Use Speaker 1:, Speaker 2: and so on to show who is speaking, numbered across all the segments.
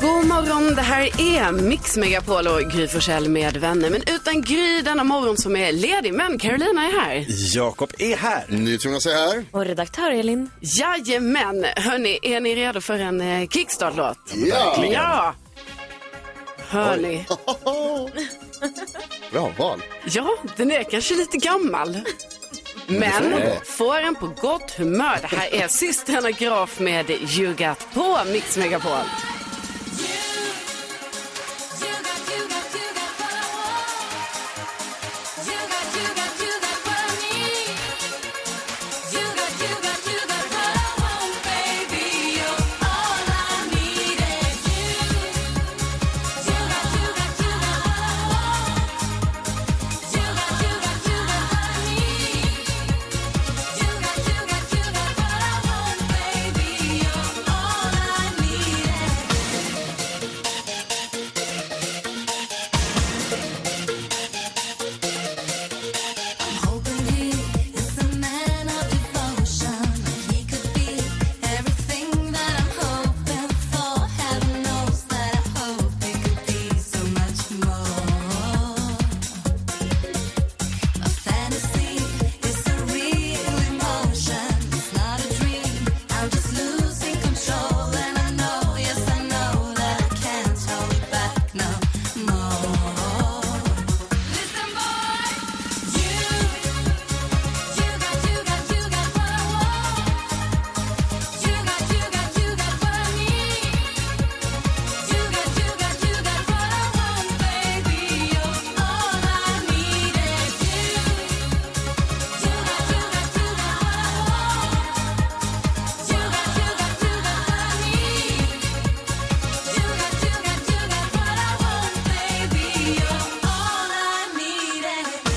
Speaker 1: God morgon, det här är Mix Megapol och Gry Forssell med vänner. Men utan Gry denna morgon som är ledig, men Carolina är här.
Speaker 2: Jakob är här.
Speaker 3: Nyhetsjonas är här.
Speaker 4: Och redaktör Elin.
Speaker 1: Jajamän, hörni, är ni redo för en eh, kickstart-låt?
Speaker 3: Ja!
Speaker 1: Ja! Hörni,
Speaker 3: Bra val.
Speaker 1: ja, den är kanske lite gammal. Men får en på gott humör. Det här är systrarna Graf med Ljugat på Mix Megapol.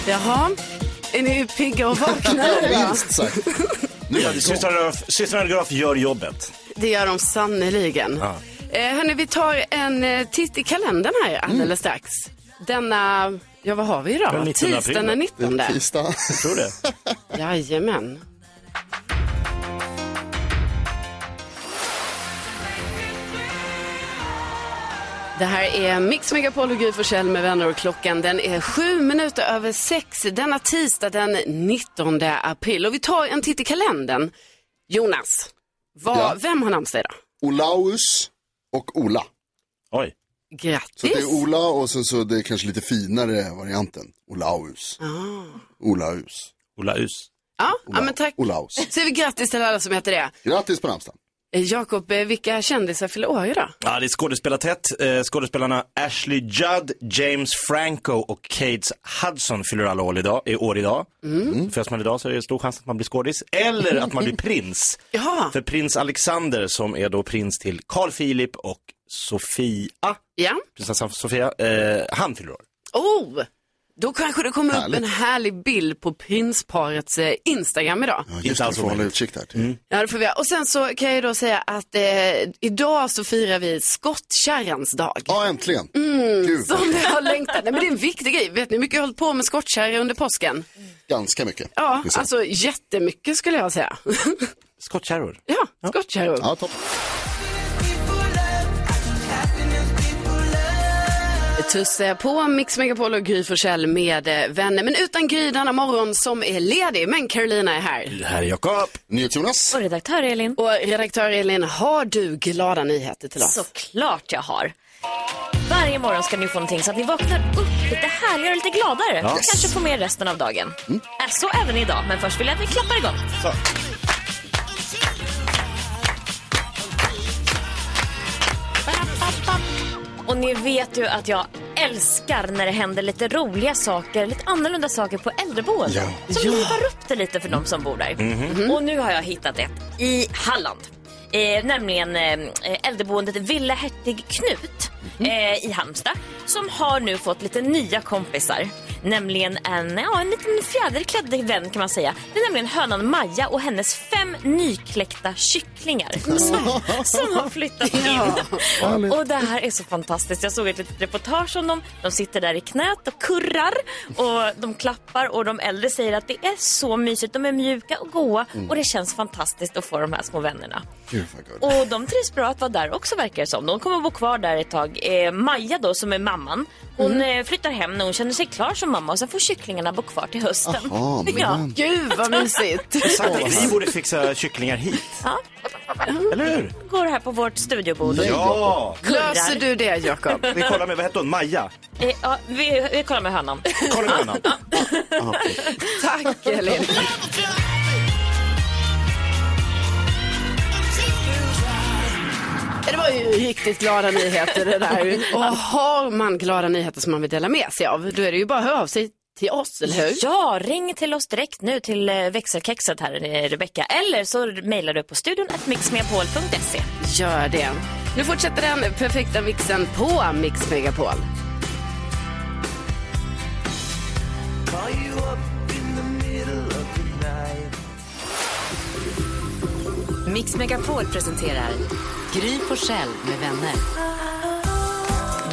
Speaker 1: Jaha, är ni pigga och vakna nu då?
Speaker 3: Minst sagt.
Speaker 2: Ja, det är
Speaker 3: Nu är det igång.
Speaker 2: Systrarna Graf- Systrarna Graf gör jobbet.
Speaker 1: Det gör de
Speaker 3: Mm.
Speaker 1: sannerligen.
Speaker 2: Ja.
Speaker 1: Eh, hörni, vi tar en eh, titt i kalendern här alldeles strax. Denna, ja vad har vi
Speaker 2: Mm. Den
Speaker 1: idag?
Speaker 2: 19 april,
Speaker 1: Tisdagen den
Speaker 2: va?
Speaker 1: 19.
Speaker 3: Tisdag.
Speaker 2: Tror det?
Speaker 1: Jajamän. Det här är Mix Megapol och Gry Forssell med vänner och klockan den är sju minuter över sex denna tisdag den 19 april. Och vi tar en titt i kalendern. Jonas, vad,
Speaker 3: Ja.
Speaker 1: vem har namnsdag idag?
Speaker 3: Olaus och Ola.
Speaker 2: Oj.
Speaker 3: Så det
Speaker 1: Grattis!
Speaker 3: är Ola och sen så det är kanske lite finare varianten. Olaus. Olaus.
Speaker 2: Ola Us.
Speaker 1: Ah. ja, ja, men tack.
Speaker 3: Olaus.
Speaker 1: Säger vi grattis till alla som heter det.
Speaker 3: Grattis på namnsdagen.
Speaker 1: Eh, Jakob, eh, vilka kändisar fyller år idag?
Speaker 2: Ja, det är skådespelartätt. Eh, Skådespelarna Ashley Judd, James Franco och Kate Hudson fyller alla år idag. Är år idag.
Speaker 3: Mm.
Speaker 2: Mm. Föds man idag så är det stor chans att man blir skådis. Eller att man blir prins.
Speaker 1: Jaha.
Speaker 2: För prins Alexander som är då prins till Carl Philip och Sofia,
Speaker 1: Ja.
Speaker 2: prinsessan Sofia, eh, han fyller år.
Speaker 1: Oh! Då kanske det kommer upp
Speaker 3: Härligt.
Speaker 1: en härlig bild på prinsparets eh, Instagram idag.
Speaker 3: Ja, just
Speaker 2: Inte
Speaker 3: det,
Speaker 2: alls
Speaker 3: du får hålla
Speaker 2: omöjligt. Mm.
Speaker 3: utkik där. till.
Speaker 1: Ja, det får vi göra. Och sen så kan jag ju då säga att eh, idag så firar vi skottkärrans dag. Mm,
Speaker 3: Ja, äntligen. Gud,
Speaker 1: Som vi har längtat. Nej, men det är en viktig grej. Vet ni hur mycket jag har hållit på med skottkärra under påsken?
Speaker 3: ganska mycket.
Speaker 1: Ja,
Speaker 3: Precis.
Speaker 1: alltså jättemycket skulle jag säga.
Speaker 2: Skottkärror.
Speaker 1: ja, skottkärror.
Speaker 3: Ja, topp.
Speaker 1: Tusse på Mix Megapol och Gry Forssell med eh, vänner. Men utan Gry denna morgon som är ledig. Men Carolina är här.
Speaker 2: Det här är Jakob.
Speaker 3: NyhetsJonas.
Speaker 4: Och redaktör Elin.
Speaker 1: Och redaktör Elin, har du glada nyheter till oss?
Speaker 4: Såklart jag har. Varje morgon ska ni få någonting så att ni vaknar upp lite härligare och lite gladare. Och kanske får med resten av dagen. Äh, Så även idag, men först vill jag att vi klappar igång. Och ni vet ju att jag älskar när det händer lite roliga saker, lite annorlunda saker på äldreboenden.
Speaker 5: Mhm.
Speaker 4: Som livar upp det lite för de som bor där. Och nu har jag hittat ett i Halland. eh, nämligen eh, äldreboendet Villa Hertig Knut eh, i Halmstad som har nu fått lite nya kompisar. Nämligen en, ja, en liten fjäderklädd vän kan man säga. Det är nämligen hönan Maja och hennes fem nykläckta kycklingar som, som har flyttat in. Och det här är så fantastiskt. Jag såg ett litet reportage om dem. De sitter där i knät och kurrar och de klappar och de äldre säger att det är så mysigt. De är mjuka och goa
Speaker 3: Mm.
Speaker 4: och det känns fantastiskt att få de här små vännerna.
Speaker 3: Gud vad gulligt.
Speaker 4: Och de trivs bra att vara där också verkar det som. De kommer att bo kvar där ett tag. Eh, Maja då som är mamman, hon
Speaker 3: Mm.
Speaker 4: eh, flyttar hem när hon känner sig klar som mamma och sen får kycklingarna bo kvar till hösten.
Speaker 3: Aha, men-
Speaker 4: ja.
Speaker 1: Gud vad mysigt.
Speaker 2: Sagt att vi borde fixa kycklingar hit.
Speaker 4: ja,
Speaker 2: Eller hur?
Speaker 4: går här på vårt studiobord.
Speaker 2: Ja!
Speaker 1: Löser du det Jakob?
Speaker 2: Vi kollar med, vad hette hon, Maja?
Speaker 4: Eh, ja, vi, vi kollar med hönan.
Speaker 2: Kolla med honom.
Speaker 1: Tack Elin. Det var ju riktigt glada nyheter det där. Och har man glada nyheter som man vill dela med sig av, då är det ju bara att höra av sig till oss, eller hur?
Speaker 4: Ja, ring till oss direkt nu till eh, växelkexet här, eh, Rebecka. Eller så mejlar du på studion mixmegapol.se.
Speaker 1: Gör det. Nu fortsätter den perfekta mixen på Mix Megapol.
Speaker 6: Mix Megapol presenterar Gry Forssell med vänner.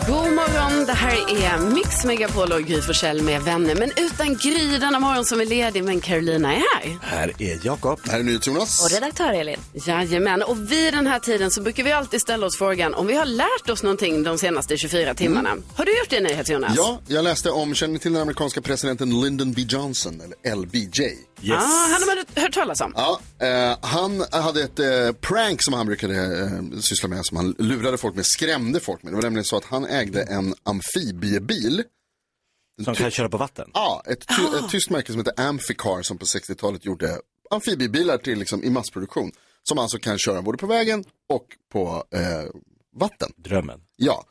Speaker 1: God morgon, det här är Mix Megapol och Gry Forssell med vänner. Men utan Gry denna morgon som är ledig, men Carolina är här.
Speaker 2: Här är Jakob.
Speaker 3: Det här är NyhetsJonas.
Speaker 4: Och redaktör Elin.
Speaker 1: Jajamän, och vid den här tiden så brukar vi alltid ställa oss frågan om vi har lärt oss någonting de senaste 24 timmarna. Har du gjort det NyhetsJonas?
Speaker 3: Mm. Ja, jag läste om, känner ni till den amerikanska presidenten Lyndon B Johnson, eller LBJ?
Speaker 2: Yes.
Speaker 1: Ah, han har man hört talas om.
Speaker 3: Ja, eh, han hade ett eh, prank som han brukade eh, syssla med, som han lurade folk med, skrämde folk med. Det var nämligen så att han ägde en amfibiebil.
Speaker 2: Som kan köra på vatten.
Speaker 3: Ja, ett, ty- ett tyskt märke som heter Amphicar som på 60-talet gjorde amfibiebilar till, liksom, i massproduktion. Som alltså kan köra både på vägen och på eh, vatten.
Speaker 2: Drömmen.
Speaker 3: Ja,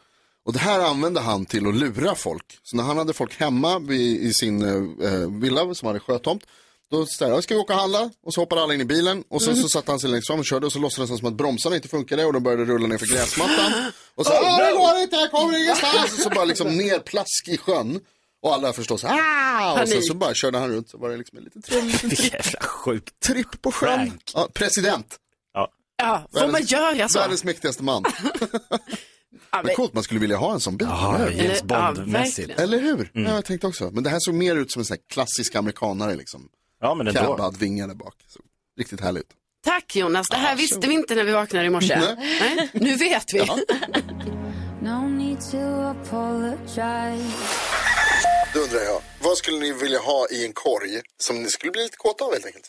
Speaker 3: och det här använde han till att lura folk. Så när han hade folk hemma vid, i sin eh, villa som hade sjötomt, då sa han, ska vi åka och handla? Och så hoppade alla in i bilen och sen så satte han sig längst fram och körde och så låtsades han som att bromsarna inte funkade och de började rulla ner för gräsmattan. Och så, åh det går inte, jag kommer ingenstans! Och så bara liksom ner plask i sjön. Och alla förstås, ah! Och sen så bara körde han runt, så var det liksom en liten tripp,
Speaker 2: Vilken jävla sjukt.
Speaker 3: tripp på sjön.
Speaker 2: Prank.
Speaker 3: Ja, president,
Speaker 1: Ja, får man
Speaker 3: Världens-
Speaker 1: göra så?
Speaker 3: världens mäktigaste man. Men coolt, man skulle vilja ha en sån bil. eller hur?
Speaker 2: Ja, James Bond-mässigt. Mm.
Speaker 3: Eller hur? Ja, jag tänkte också. Men det här såg mer ut som en sån här klassisk amerikanare liksom.
Speaker 2: Ja, men ändå.
Speaker 3: Cabbad, vingar där bak. Så, riktigt härligt.
Speaker 1: Tack Jonas, det här visste vi inte när vi vaknade i morse.
Speaker 3: Nej.
Speaker 1: Nej, nu vet vi.
Speaker 3: Då undrar jag, vad skulle ni vilja ha i en korg som ni skulle bli lite kåta av helt enkelt?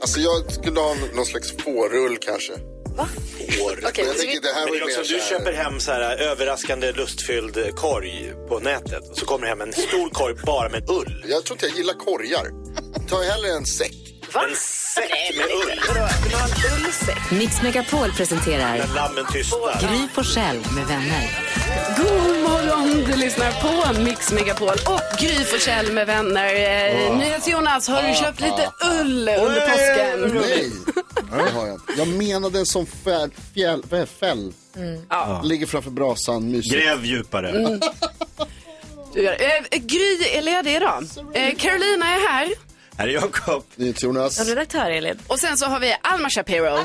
Speaker 3: Alltså jag skulle ha någon slags fårull kanske.
Speaker 2: År.
Speaker 3: Men jag tänker det här
Speaker 7: Men
Speaker 3: var
Speaker 7: det
Speaker 3: ju
Speaker 7: är
Speaker 3: mer
Speaker 7: också, du
Speaker 3: så
Speaker 7: köper
Speaker 3: här,
Speaker 7: hem så här äh, överraskande lustfylld äh, korg på nätet och så kommer det hem en stor korg bara med ull.
Speaker 3: jag tror inte jag gillar korgar. Ta hellre en säck.
Speaker 7: En säck med ull.
Speaker 6: Mix Megapol presenterar
Speaker 7: När lammen tystnar.
Speaker 6: Gry Forssell med vänner.
Speaker 1: God morgon, du lyssnar på Mix Megapol och Gry Forssell med vänner. Oh. Jonas, har du köpt lite ull under påsken?
Speaker 3: Nej, det har jag inte. Jag menade en sån fäll, fjäll, vad är fäll?
Speaker 4: Mm.
Speaker 3: Ligger framför brasan, mysigt.
Speaker 2: Gräv djupare.
Speaker 1: Mm. Du gör- eh, Gry är ledig idag. Eh, Carolina är här.
Speaker 2: Här är Jakob.
Speaker 3: NyhetsJonas.
Speaker 4: Och redaktör Elin.
Speaker 1: Och sen så har vi Alma Shapiro.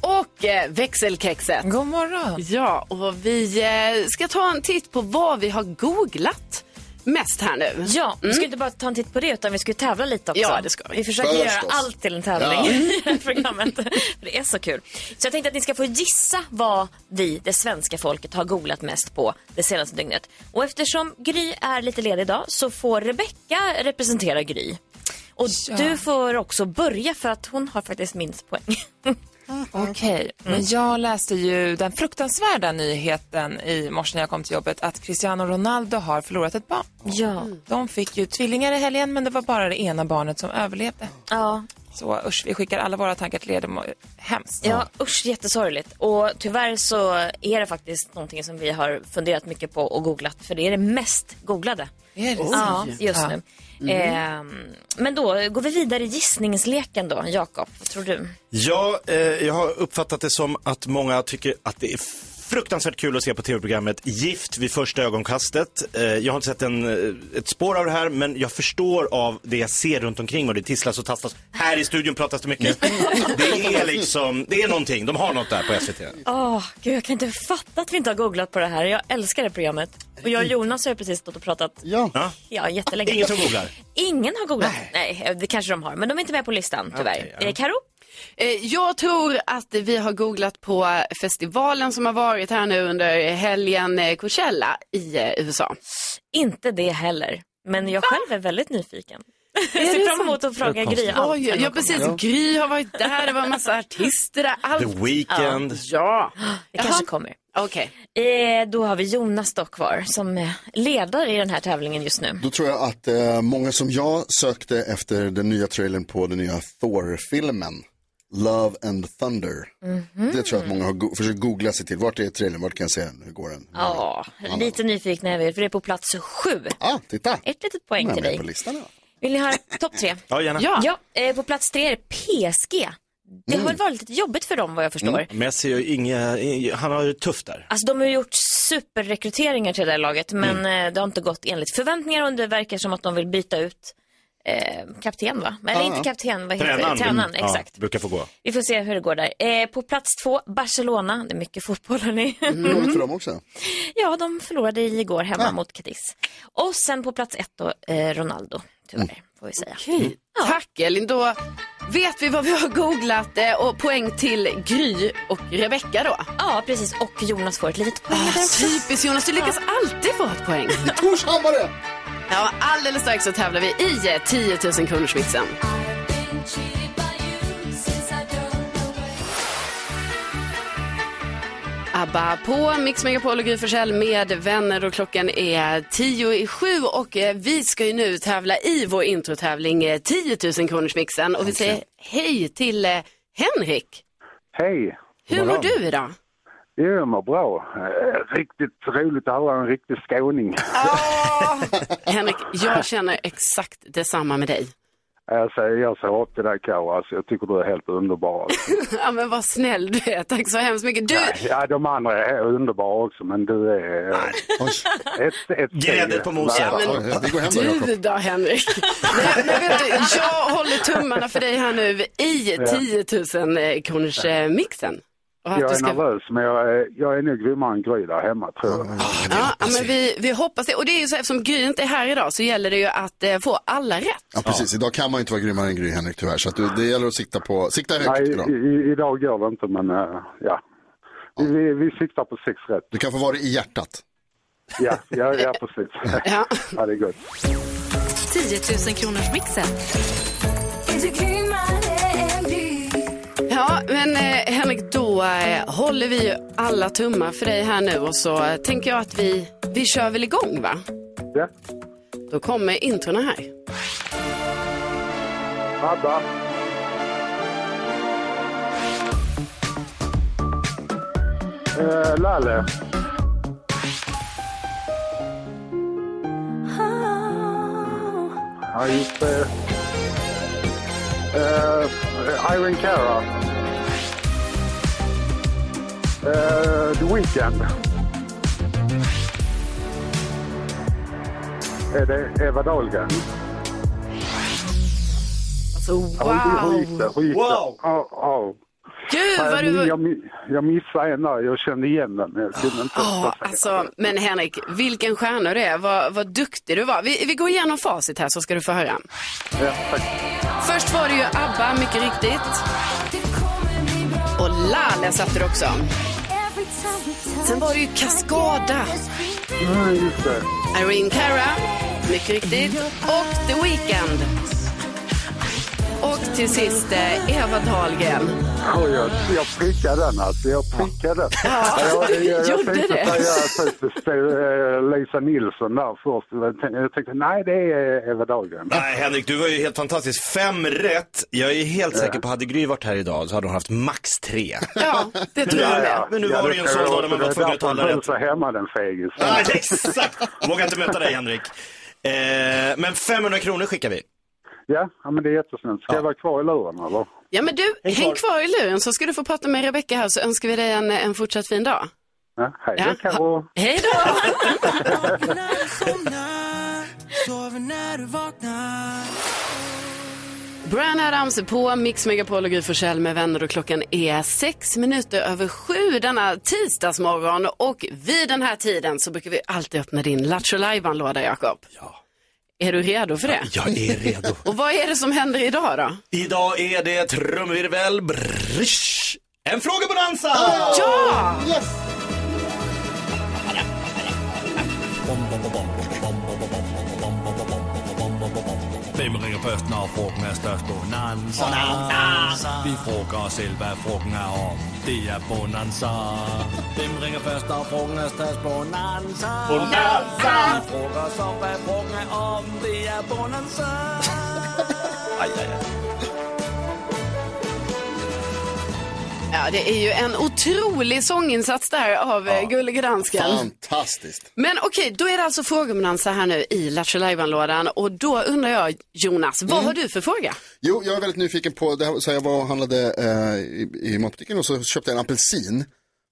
Speaker 1: Och eh, växelkexet.
Speaker 8: God morgon.
Speaker 1: Ja, och vi eh, ska ta en titt på vad vi har googlat mest här nu. Mm.
Speaker 4: Ja, vi ska inte bara ta en titt på det utan vi ska ju tävla lite också.
Speaker 1: Ja, det ska vi.
Speaker 4: vi försöker
Speaker 3: Förstås.
Speaker 4: göra allt till en tävling i det här programmet. För det är så kul. Så jag tänkte att ni ska få gissa vad vi, det svenska folket, har googlat mest på det senaste dygnet. Och eftersom Gry är lite ledig idag så får Rebecka representera Gry. Och du får också börja för att hon har faktiskt minst poäng.
Speaker 8: Okej, men jag läste ju den fruktansvärda nyheten i morse när jag kom till jobbet att Cristiano Ronaldo har förlorat ett barn.
Speaker 4: Ja.
Speaker 8: De fick ju tvillingar i helgen men det var bara det ena barnet som överlevde.
Speaker 4: Ja,
Speaker 8: Så usch, vi skickar alla våra tankar till er. Det var hemskt.
Speaker 4: Ja, usch, jättesorgligt. Och tyvärr så är det faktiskt någonting som vi har funderat mycket på och googlat, för det är det mest googlade.
Speaker 8: Är det
Speaker 4: Ja,
Speaker 8: sant?
Speaker 4: just
Speaker 8: Ja. Mm.
Speaker 4: nu. Ehm, men då går vi vidare i gissningsleken då, Jakob. Vad tror du?
Speaker 2: Ja, eh, jag har uppfattat det som att många tycker att det är fruktansvärt kul att se på tv-programmet Gift vid första ögonkastet. Eh, jag har inte sett en, eh, ett spår av det här, men jag förstår av det jag ser runt omkring mig. Det tisslas och tasslas. Här i studion pratas det mycket. Det är liksom, det är någonting. De har något där på SVT.
Speaker 4: Åh, gud, jag kan inte fatta att vi inte har googlat på det här. Jag älskar det programmet. Och jag och
Speaker 1: Mm.
Speaker 4: Jonas har ju precis stått och pratat
Speaker 3: Ja.
Speaker 2: Ja?
Speaker 4: ja, jättelänge.
Speaker 2: Ingen som googlar.
Speaker 4: Ingen har googlat. Nej. eh, det kanske de har, men de är inte med på listan tyvärr.
Speaker 2: Okej, ja.
Speaker 4: Eh, Karo?
Speaker 1: Eh, Jag tror att vi har googlat på festivalen som har varit här nu under helgen, eh, Coachella i eh, USA.
Speaker 4: Inte det heller. Men jag själv är väldigt nyfiken. Jag ser fram emot att fråga Gry allt
Speaker 1: Oj,
Speaker 4: när de
Speaker 1: ja
Speaker 4: kommer.
Speaker 1: precis. Gry har varit där, det var en massa artister där.
Speaker 2: The
Speaker 1: Allt.
Speaker 2: Weeknd.
Speaker 1: Ja,
Speaker 4: Det kanske kommer.
Speaker 1: okej.
Speaker 4: Eh, då har vi Jonas då kvar som eh, ledare i den här tävlingen just nu.
Speaker 3: Då tror jag att eh, många som jag sökte efter den nya trailern på den nya Thor-filmen. Love and Thunder.
Speaker 4: Mhm.
Speaker 1: Mm.
Speaker 3: Det tror jag att många har go- försökt googla sig till. Vart är trailern? Vart kan jag se den? Hur går den? Hur går
Speaker 4: Ja, lite nyfikna är vi för det är på plats sju.
Speaker 3: den? Ah, titta!
Speaker 4: Ett litet poäng
Speaker 3: Den är
Speaker 4: till
Speaker 3: med på
Speaker 4: dig.
Speaker 3: listan. ja.
Speaker 4: Vill ni ha topp tre?
Speaker 2: Ja, gärna.
Speaker 1: Ja.
Speaker 4: Ja, eh, på plats tre är det PSG. Det
Speaker 3: Mm.
Speaker 4: har väl varit lite jobbigt för dem vad jag förstår.
Speaker 2: Messi och inga, inga, han har det tufft där.
Speaker 4: Alltså de har ju gjort superrekryteringar till det här laget men
Speaker 3: Mm.
Speaker 4: eh, det har inte gått enligt förväntningar och det verkar som att de vill byta ut eh, kapten va? Eller
Speaker 3: Ja, ja.
Speaker 4: inte kapten, vad heter
Speaker 2: Tränaren.
Speaker 4: det? Tränaren, exakt.
Speaker 2: Ja, brukar få gå.
Speaker 4: Vi får se hur det går där. Eh, på plats två, Barcelona. Det är mycket fotboll hörni.
Speaker 1: Mm.
Speaker 3: Roligt för dem också.
Speaker 4: ja, de förlorade igår hemma mot Cadiz. Och sen på plats ett då, eh, Ronaldo. Tyvärr,
Speaker 2: Mm.
Speaker 4: får vi säga.
Speaker 1: Okej. Mm. Tack Elin, då vet vi vad vi har googlat eh, och poäng till Gry och Rebecka då. Ah,
Speaker 4: Ja, precis. Och Jonas får ett litet poäng där också.
Speaker 1: Typiskt Jonas, du lyckas alltid få ett poäng.
Speaker 3: Vi tog oss hammare!
Speaker 1: Ja, alldeles strax så tävlar vi i eh, 10 000 kronors mixen. ABBA på Mix Megapol och Gry Forssell med vänner och klockan är tio i sju och eh, vi ska ju nu tävla i vår introtävling eh, 10 000 kronors mixen och vi säger hej till eh, Henrik.
Speaker 9: Hej!
Speaker 1: Hur mår du idag?
Speaker 9: Jo, jag mår bra. Eh, Riktigt roligt att höra en riktig skåning.
Speaker 1: Henrik, jag känner exakt detsamma med dig.
Speaker 9: Alltså, jag ser upp till dig Karo. Alltså, jag tycker du är helt underbar. Alltså.
Speaker 1: Ja men vad snäll du är, tack så hemskt mycket. Du,
Speaker 9: Ja, de andra är underbara också, men du är eh,
Speaker 3: Oj,
Speaker 9: ett, ett
Speaker 2: Grädde på moset.
Speaker 3: oj, oj, vi går hem då Jakob.
Speaker 1: Du då Henrik. Nej, men vet du, jag håller tummarna för dig här nu i 10 000 eh, kronors eh, mixen. Och att
Speaker 9: Jag
Speaker 1: du
Speaker 9: är
Speaker 1: ska-
Speaker 9: nervös, men jag är, jag är nog grymmare än Gry där hemma, tror jag.
Speaker 3: Ah,
Speaker 1: Ja, ja, men vi, vi hoppas det. Och det är ju så eftersom Gry inte är här idag så gäller det ju att eh, få alla rätt.
Speaker 3: Ja, precis. Idag kan man ju inte vara grymmare än Gry Henrik tyvärr. Så att du, det gäller att sikta, på, sikta högt
Speaker 9: Nej, i,
Speaker 3: idag.
Speaker 9: i, idag går det inte, men eh, ja. Vi, vi, vi siktar på sex rätt.
Speaker 3: Du kan få vara det i hjärtat.
Speaker 9: Ja, ja, ja precis.
Speaker 1: Ja.
Speaker 9: Ja, det är gott.
Speaker 6: 10 000 kronors mixen.
Speaker 1: Ja, men eh, Henrik, då eh, håller vi ju alla tummar för dig här nu och så eh, tänker jag att vi, vi kör väl igång va?
Speaker 9: Ja.
Speaker 1: Då kommer introna här.
Speaker 9: ABBA, eh, Lalle,
Speaker 1: Oh.
Speaker 9: ja, just det. Eh, Irene Cara. Eh, The Weeknd. Är det Eva Dahlgren?
Speaker 1: Alltså
Speaker 9: Hur
Speaker 1: wow!
Speaker 9: gick det? Hur gick det?
Speaker 2: Wow.
Speaker 9: Ja, ja.
Speaker 1: Gud
Speaker 9: Jag,
Speaker 1: vad du...
Speaker 9: jag, mi- jag missade en där, jag kände igen den. men Jag kunde inte
Speaker 1: Ja, alltså, men Henrik, vilken stjärna du är. Vad, vad duktig du var. Vi, vi går igenom facit här så ska du få höra.
Speaker 9: Ja, tack.
Speaker 1: Först var det ju ABBA, mycket riktigt. Och Laleh satte du också. Sen var det ju Cascada,
Speaker 9: Mm, just det.
Speaker 1: Irene Cara, mycket riktigt. Och The Weeknd. Och till sist eh, Eva Dahlgren.
Speaker 9: Oj, jag, jag prickade den alltså, jag prickade den. Ja, jag, jag, jag,
Speaker 1: gjorde
Speaker 9: tänkte
Speaker 1: det.
Speaker 9: säga att det stod, eh, Lisa Nilsson där först. Jag tänkte- Jag tänkte, nej det är Eva Dahlgren.
Speaker 2: Nej Henrik, du var ju helt fantastisk. Fem rätt. Jag är helt säker på, hade Gry varit här idag så hade hon haft max tre.
Speaker 1: Ja, det tror jag med.
Speaker 2: Men nu var det ju en sån dag när man var tvungen att ta alla
Speaker 9: rätt.
Speaker 2: rätt.
Speaker 9: hemma den fegis.
Speaker 2: Nej, exakt! Vågar inte möta dig Henrik. Eh, men 500 kronor skickar vi.
Speaker 9: Ja, ja men det är jättesnällt. Ska jag vara kvar i luren eller?
Speaker 1: Ja, men du, häng kvar. i luren så ska du få prata med Rebecka här så önskar vi dig en, en fortsatt fin dag.
Speaker 9: Ja, hej
Speaker 1: Ja.
Speaker 9: då Carro.
Speaker 1: Hej då! Brian Adams är på Mix Megapol och Gry Forssell med vänner och klockan är sex minuter över sju denna tisdagsmorgon och vid den här tiden så brukar vi alltid öppna din Lattjo Lajban-låda, Jakob. Ja. Är du redo för det?
Speaker 2: Jag är redo.
Speaker 1: Och vad är det som händer idag då?
Speaker 2: Idag är det trumvirvel. Brrrsch. En frågebonanza!
Speaker 1: Ja!
Speaker 10: Vem ringer först när frågan är störst? Bonanza. Vi frågar oss själva vad frågan är om. Det är bonanza. Vem ringer först när frågan är störst? Bonanza. Vi frågar oss om vad frågan är om. Det är bonanza.
Speaker 2: Aj, aj, aj.
Speaker 1: Ja, det är ju en otrolig sånginsats där av ja. Gullige Dansken.
Speaker 3: Fantastiskt.
Speaker 1: Men okej, då är det alltså frågebonanza här nu i Lattjo Lajban-lådan och då undrar jag Jonas,
Speaker 2: Mm.
Speaker 1: vad har du för fråga?
Speaker 3: Jo, jag är väldigt nyfiken på, det här, så här, jag var och handlade eh, i, i matbutiken och så köpte jag en apelsin.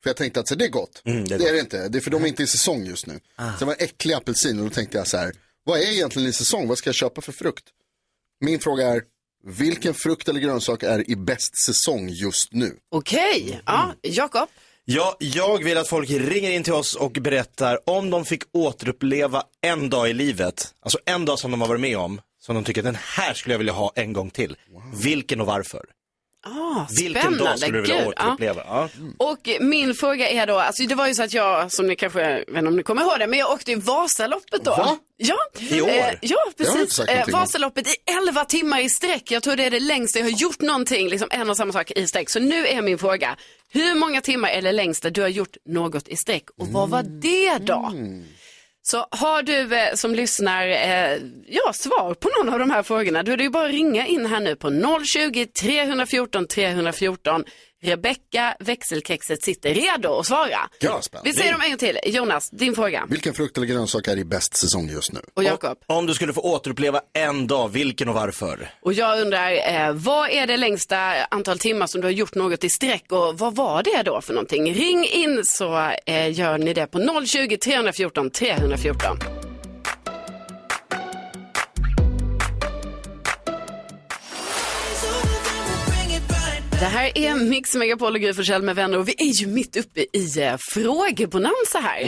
Speaker 3: För jag tänkte att så, det är gott. Mm, Ah. det, är det inte, det är för de är inte i säsong just nu. Så det var en äcklig apelsin och då tänkte jag så här, vad är egentligen i säsong? Vad ska jag köpa för frukt? Min fråga är, vilken frukt eller grönsak är i bäst säsong just nu?
Speaker 1: Okej, ja, Jakob.
Speaker 2: Ja, jag vill att folk ringer in till oss och berättar om de fick återuppleva en dag i livet, alltså en dag som de har varit med om, som de tycker den här skulle jag vilja ha en gång till. Vilken och varför?
Speaker 1: Ah,
Speaker 2: Vilken
Speaker 1: spännande.
Speaker 2: dag skulle du vilja
Speaker 1: Gud, ja.
Speaker 2: återuppleva? Ja.
Speaker 1: Och min fråga är då, alltså det var ju så att jag, som ni kanske, jag vet inte om ni kommer ihåg det, men jag åkte i Vasaloppet då.
Speaker 3: Va?
Speaker 1: Ja, Eh,
Speaker 2: I år?
Speaker 1: ja,
Speaker 3: har du
Speaker 1: precis. Eh,
Speaker 3: inte sagt någonting om.
Speaker 1: Vasaloppet i 11 timmar i sträck. Jag tror det är det längsta jag har gjort någonting, liksom en och samma sak i sträck. Så nu är min fråga, hur många timmar eller längsta du har gjort något i sträck och vad var det då?
Speaker 2: Mm.
Speaker 1: Så har du eh, som lyssnar eh, ja, svar på någon av de här frågorna, då är det ju bara att ringa in här nu på 020 314 314. Rebecka, växelkexet, sitter redo att svara.
Speaker 3: Ja, spännande.
Speaker 1: Vi säger dem en gång till. Jonas, din fråga.
Speaker 3: Vilken frukt eller grönsak är i bäst säsong just nu?
Speaker 1: Och Jakob.
Speaker 2: Om du skulle få återuppleva en dag, vilken och varför?
Speaker 1: Och jag undrar, eh, vad är det längsta antal timmar som du har gjort något i sträck och vad var det då för någonting? Ring in så eh, gör ni det på 020 314 314. Det här är Mix Megapol och Gry Forssell med vänner och vi är ju mitt uppe i eh, frågebonanza här.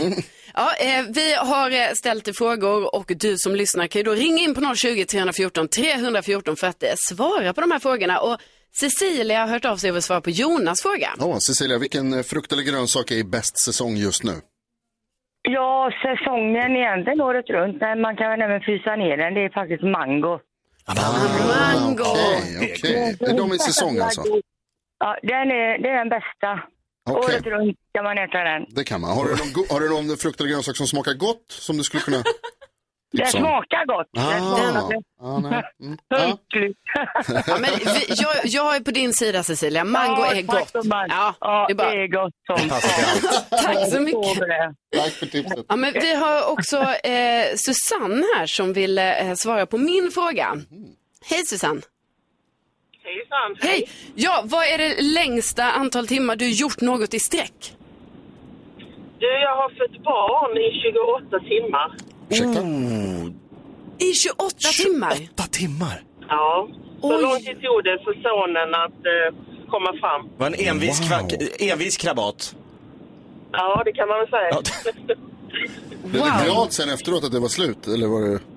Speaker 1: Ja, eh, vi har eh, ställt frågor och du som lyssnar kan ju då ringa in på 020 314 314 för att eh, svara på de här frågorna. Och Cecilia har hört av sig och vill svara på Jonas fråga.
Speaker 3: Ja, Cecilia, vilken eh, frukt eller grönsak är i bäst säsong just nu?
Speaker 5: Ja, säsongen egentligen året runt, men man kan väl även frysa ner den. Det är faktiskt mango.
Speaker 1: Ah, Mango.
Speaker 3: Okej, okej. Ah, Det är de i säsong alltså?
Speaker 5: Ja, den är, det är den bästa.
Speaker 3: Okej,
Speaker 5: Året runt kan man äta den.
Speaker 3: det kan man. Har du, någon, go- har du någon frukt eller grönsak som smakar gott som du skulle kunna...
Speaker 1: Typ
Speaker 5: Den
Speaker 3: Liksom.
Speaker 5: smakar gott. Den
Speaker 3: Ah,
Speaker 5: smakar
Speaker 3: ah, nej. Mm. Ah.
Speaker 5: punktlig.
Speaker 1: Ja, men vi, jag, jag är på din sida Cecilia, mango
Speaker 5: Ja,
Speaker 1: är
Speaker 5: tack
Speaker 1: gott.
Speaker 5: så mycket.
Speaker 1: Ja,
Speaker 5: Ja,
Speaker 1: det är bara...
Speaker 5: gott som
Speaker 1: Tack så
Speaker 5: Jag
Speaker 1: mycket.
Speaker 5: förstår det.
Speaker 3: Tack för tipset.
Speaker 1: Ja, men vi har också eh, Susanne här som vill eh, svara på min fråga. Hej Susanne.
Speaker 5: Hejsan.
Speaker 1: Hej! Ja, vad är det längsta antal timmar du gjort något i sträck?
Speaker 5: Du, jag har fött barn i 28 timmar.
Speaker 3: Ursäkta?
Speaker 1: I 28 timmar?
Speaker 2: Åtta timmar.
Speaker 5: Ja.
Speaker 1: Så Oj. lång
Speaker 5: tid tog det för sonen att eh, komma fram.
Speaker 2: Det var en envis,
Speaker 3: Wow.
Speaker 2: kvack, envis krabat.
Speaker 5: Ja, det kan man väl säga.
Speaker 2: Ja.
Speaker 3: Blev du glad sen efteråt att det var slut? Eller var det...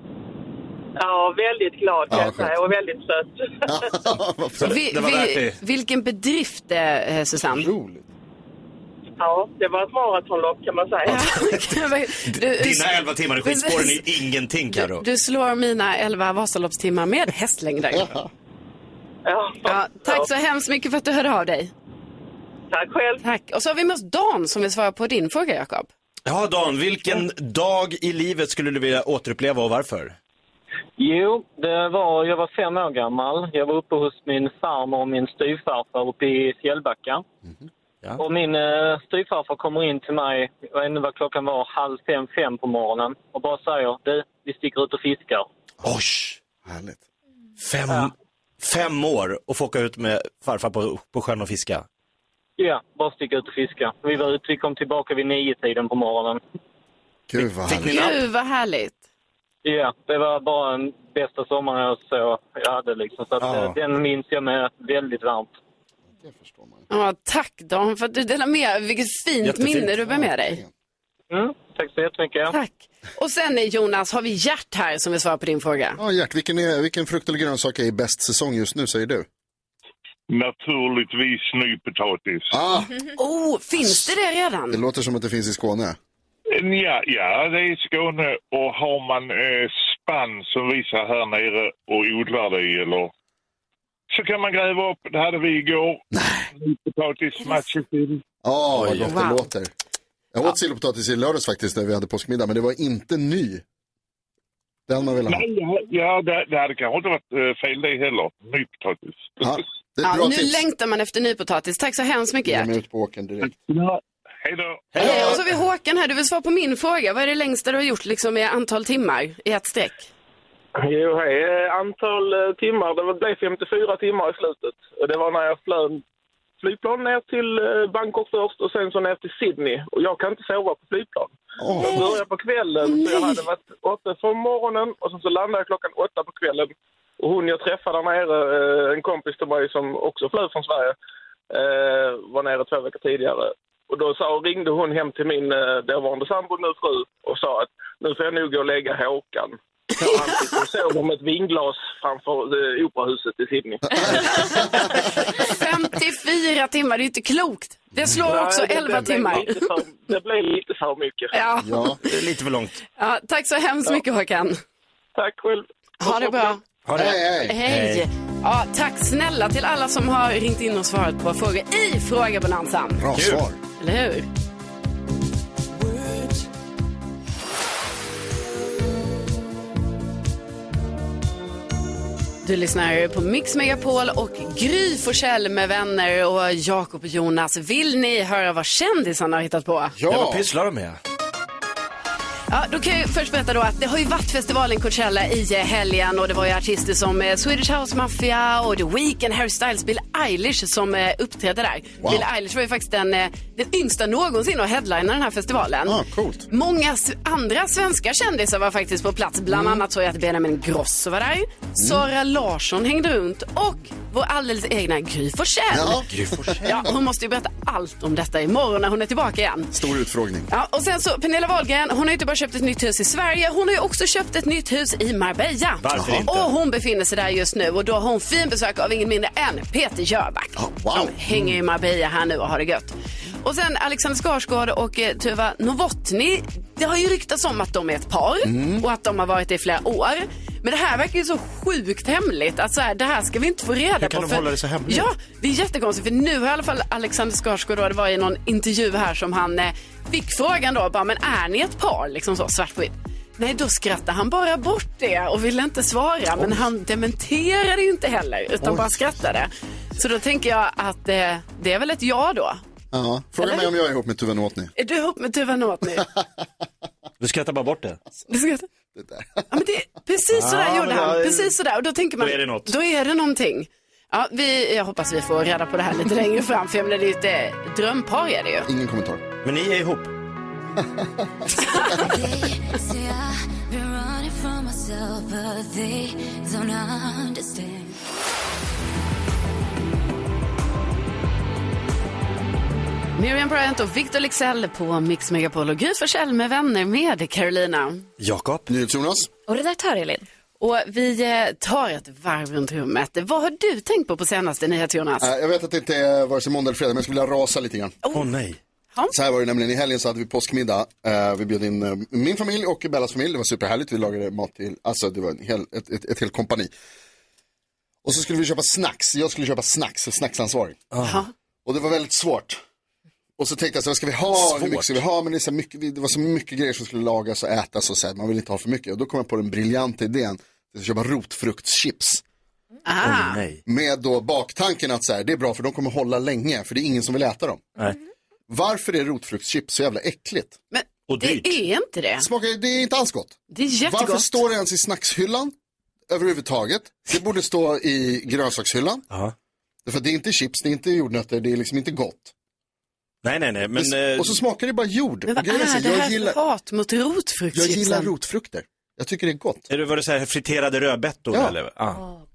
Speaker 5: Ja, väldigt glad
Speaker 3: kan Ja, jag skönt. säga,
Speaker 5: och väldigt söt.
Speaker 3: Varför?
Speaker 1: Vi,
Speaker 2: Det var värt det.
Speaker 1: vilken bedrift, eh, Susanne.
Speaker 3: Otroligt.
Speaker 5: Ja, det var ett maratonlopp kan man säga.
Speaker 1: du, du,
Speaker 2: Dina elva timmar i skidspåren är ingenting Carro.
Speaker 1: du slår mina 11 Vasaloppstimmar med hästlängder.
Speaker 5: Ja.
Speaker 1: Ja, tack så hemskt mycket för att du hörde av dig.
Speaker 5: Tack själv.
Speaker 1: Tack. Och så har vi med oss Dan som vill svara på din fråga, Jakob.
Speaker 2: Ja Dan, vilken dag i livet skulle du vilja återuppleva och varför?
Speaker 5: Jo, det var, jag var fem
Speaker 3: Mhm.
Speaker 5: år gammal. Jag var uppe hos min farmor och min styvfarfar uppe i Fjällbacka.
Speaker 11: Och min eh, styvfarfar kommer in till mig, jag vet inte vad klockan var, halv fem, fem på morgonen och bara säger du, vi sticker ut och fiskar.
Speaker 2: Oj! Härligt. Fem, fem år och få åka ut med farfar på, på sjön och fiska.
Speaker 11: Ja, bara sticka ut och fiska. Vi var ute, vi kom tillbaka vid nio tiden på morgonen.
Speaker 3: Gud vad
Speaker 11: Fick ni
Speaker 3: härligt.
Speaker 11: namn?
Speaker 1: Gud vad härligt.
Speaker 11: Ja, det var bara den bästa sommaren jag, så jag hade liksom. Så att,
Speaker 3: Ja.
Speaker 11: eh, den minns jag med väldigt varmt.
Speaker 1: Ja, tack Dan för att du delar med dig. Vilket fint
Speaker 11: Jättefint.
Speaker 1: minne du bär med dig.
Speaker 11: Mm, tack så jättemycket.
Speaker 1: Tack. Och sen eh, Jonas, har vi Gert här som vill svara på din fråga.
Speaker 3: Ja, Gert, vilken, är, vilken frukt eller grönsak är i bäst säsong just nu säger du?
Speaker 12: Naturligtvis nypotatis.
Speaker 3: Ah.
Speaker 1: Oh, finns det det redan?
Speaker 3: Det låter som att det finns i Skåne.
Speaker 12: Mm, Ja, ja, det är i Skåne och har man eh, spann som visar här nere och odlar det i eller så kan man gräva upp, det hade vi igår, nypotatis, matjessill.
Speaker 3: Ja, vad
Speaker 12: Oj.
Speaker 3: gott det
Speaker 12: Wow.
Speaker 3: låter. Jag åt sillpotatis i lördags faktiskt när vi hade påskmiddag, men det var inte ny. Det hade man velat ha.
Speaker 12: Nej, ja, ja det, det hade kanske inte varit eh, fel det heller, nypotatis.
Speaker 3: Ja, det är
Speaker 1: Ja,
Speaker 3: ett bra
Speaker 1: nu
Speaker 3: tips. Mm.
Speaker 1: längtar man efter nypotatis. Tack så hemskt mycket
Speaker 3: Ge
Speaker 1: Gert.
Speaker 3: mig ut på åkern direkt.
Speaker 12: Hej då!
Speaker 1: Hej, och så har vi Håkan här, du vill svara på min fråga. Vad är det längsta du har gjort liksom, i antal timmar i ett streck?
Speaker 13: Jo, hej. Eh, Antal eh, timmar. Det var- blev 54 timmar i slutet. Och det var när jag flög flygplan ner till eh, Bangkok först och sen så ner till Sydney. Och jag kan inte sova på flygplan. Jag började på kvällen, så jag hade varit åtta från morgonen och sen så landade jag klockan åtta på kvällen. Och hon jag träffade där nere, eh, en kompis till mig som också flög från Sverige, eh, var nere två veckor tidigare. Och då sa, ringde hon hem till min eh, dåvarande sambo, nu fru, och sa att nu får jag nog gå och lägga Håkan. Så han sitter och sover med ett vinglas framför eh, operahuset i Sydney.
Speaker 1: 54 timmar, det är ju inte klokt. Det slår också
Speaker 13: Nej, det-
Speaker 1: 11
Speaker 13: det blev
Speaker 1: timmar.
Speaker 13: lite för- Det blev lite för mycket.
Speaker 1: Ja.
Speaker 2: Det är lite för långt.
Speaker 1: Ja, tack så hemskt mycket Håkan.
Speaker 13: Tack själv.
Speaker 1: Ha det bra.
Speaker 2: Ha det. Hej, hej.
Speaker 1: Hej.
Speaker 2: Hej.
Speaker 1: Ja, tack snälla till alla som har ringt in och svarat på frågor i Frågebonanzan.
Speaker 3: Bra svar.
Speaker 1: Eller hur? Du lyssnar på Mix Megapol och Gry Forssell med vänner och Jakob och Jonas. Vill ni höra vad kändisarna har hittat på?
Speaker 2: Ja. Vad pysslar de med?
Speaker 1: Ja, då kan jag ju först berätta då att det har ju varit festivalen Coachella i eh, helgen och det var ju artister som eh, Swedish House Mafia och The Weeknd, Harry Styles, Bill Eilish som eh, uppträdde där.
Speaker 14: Wow.
Speaker 1: Bill Eilish var ju faktiskt den, eh, den yngsta någonsin att headlina den här festivalen. Ah,
Speaker 3: coolt.
Speaker 1: Många s- andra svenska kändisar var faktiskt på plats. Bland annat såg jag att Benjamin Grosso var där. Sara Larsson hängde runt och vår alldeles egna Gry Forssell.
Speaker 3: Ja.
Speaker 2: Gry
Speaker 1: Ja, hon måste ju berätta allt om detta imorgon när hon är tillbaka igen.
Speaker 3: Stor utfrågning.
Speaker 1: Ja, och sen så Pernilla Wahlgren, hon har ju inte bara köpt ett nytt hus i Sverige, hon har ju också köpt ett nytt hus i Marbella.
Speaker 3: Varför inte?
Speaker 1: Och hon befinner sig där just nu och då har hon fin besök av ingen mindre än Peter Jöback. Som hänger i Marbella här nu och har det gött. Och sen Alexander Skarsgård och eh, Tuva Novotny, det har ju ryktats om att de är ett par
Speaker 2: Mm.
Speaker 1: och att de har varit det i flera år. Men det här verkar ju så sjukt hemligt. Att så här, det här ska vi inte få reda på.
Speaker 2: kan de
Speaker 1: för-
Speaker 2: hålla det så hemligt?
Speaker 1: Ja, det är jättekonstigt för nu har i alla fall Alexander Skarsgård, då, det var i någon intervju här som han eh, fick frågan då, bara, men är ni ett par? Liksom så, svart på vitt. Nej, då skrattade han bara bort det och ville inte svara. Men han dementerade ju inte heller, utan
Speaker 3: Oj.
Speaker 1: bara skrattade. Så då tänker jag att eh, det är väl ett ja då.
Speaker 3: Ja. Fråga
Speaker 1: Eller?
Speaker 3: mig om jag är ihop med Tuve Novotny.
Speaker 1: Är du ihop med Tuva Nåt nu?
Speaker 2: Du skrattar bara bort det.
Speaker 1: Du skrattar. Ja, men det, precis sådär
Speaker 2: Ja,
Speaker 1: gjorde
Speaker 2: men
Speaker 1: han.
Speaker 2: jag-
Speaker 1: Precis sådär. Och då tänker man,
Speaker 2: Då är det något.
Speaker 1: Då är det någonting. Ja, vi, jag hoppas vi får reda på det här lite längre fram. För jag menar, det är ju ett eh, drömpar är det ju.
Speaker 3: Ingen kommentar.
Speaker 2: Men ni är ihop.
Speaker 1: Miriam Bryant och Victor Lexell på Mix Megapol och Gry Forssell med vänner med Carolina.
Speaker 2: Jakob.
Speaker 3: NyhetsJonas.
Speaker 1: Och redaktör Elin. Och vi eh, tar ett varv runt rummet. Vad har du tänkt på på senaste nyhet Jonas?
Speaker 3: Äh, Jag vet att det inte är vare sig måndag eller fredag, men jag skulle vilja rasa lite grann.
Speaker 1: Åh
Speaker 2: nej.
Speaker 3: Så här var det nämligen, i helgen så hade vi påskmiddag. Eh, Vi bjöd in eh, min familj och Bellas familj, det var superhärligt. Vi lagade mat till, alltså det var en hel, ett, ett, ett helt kompani. Och så skulle vi köpa snacks, jag skulle köpa snacks, snacksansvarig.
Speaker 2: Ah.
Speaker 3: Och det var väldigt svårt. Och så tänkte jag, så här, vad ska vi ha, liksom- hur mycket ska vi ha? Men det, är så här mycket, det var så mycket grejer som skulle lagas och ätas och så här, man vill inte ha för mycket. Och då kom jag på den briljanta idén, att jag ska köpa rotfruktschips. Med då baktanken att så här, det är bra för de kommer hålla länge för det är ingen som vill äta dem. Varför är rotfruktschips så jävla äckligt?
Speaker 1: Men det är inte det.
Speaker 3: Smakar, det är inte alls gott.
Speaker 1: Det är jättegott.
Speaker 3: Varför står det ens i snackshyllan överhuvudtaget? Det borde stå i grönsakshyllan. Därför att det är inte chips, det är inte jordnötter, det är liksom inte gott.
Speaker 2: Nej, nej, nej. Men, eh,
Speaker 3: Det- Och så smakar det bara jord.
Speaker 1: Men vad
Speaker 3: Och grejen
Speaker 1: är
Speaker 3: så
Speaker 1: det
Speaker 3: jag
Speaker 1: här
Speaker 3: gillar-
Speaker 1: för hat mot
Speaker 3: Jag
Speaker 1: rotfruktschipsen?
Speaker 3: gillar rotfrukter. Jag tycker det är gott.
Speaker 2: Är det vad du säger, friterade rödbetor
Speaker 3: Ja.
Speaker 2: eller? Ja.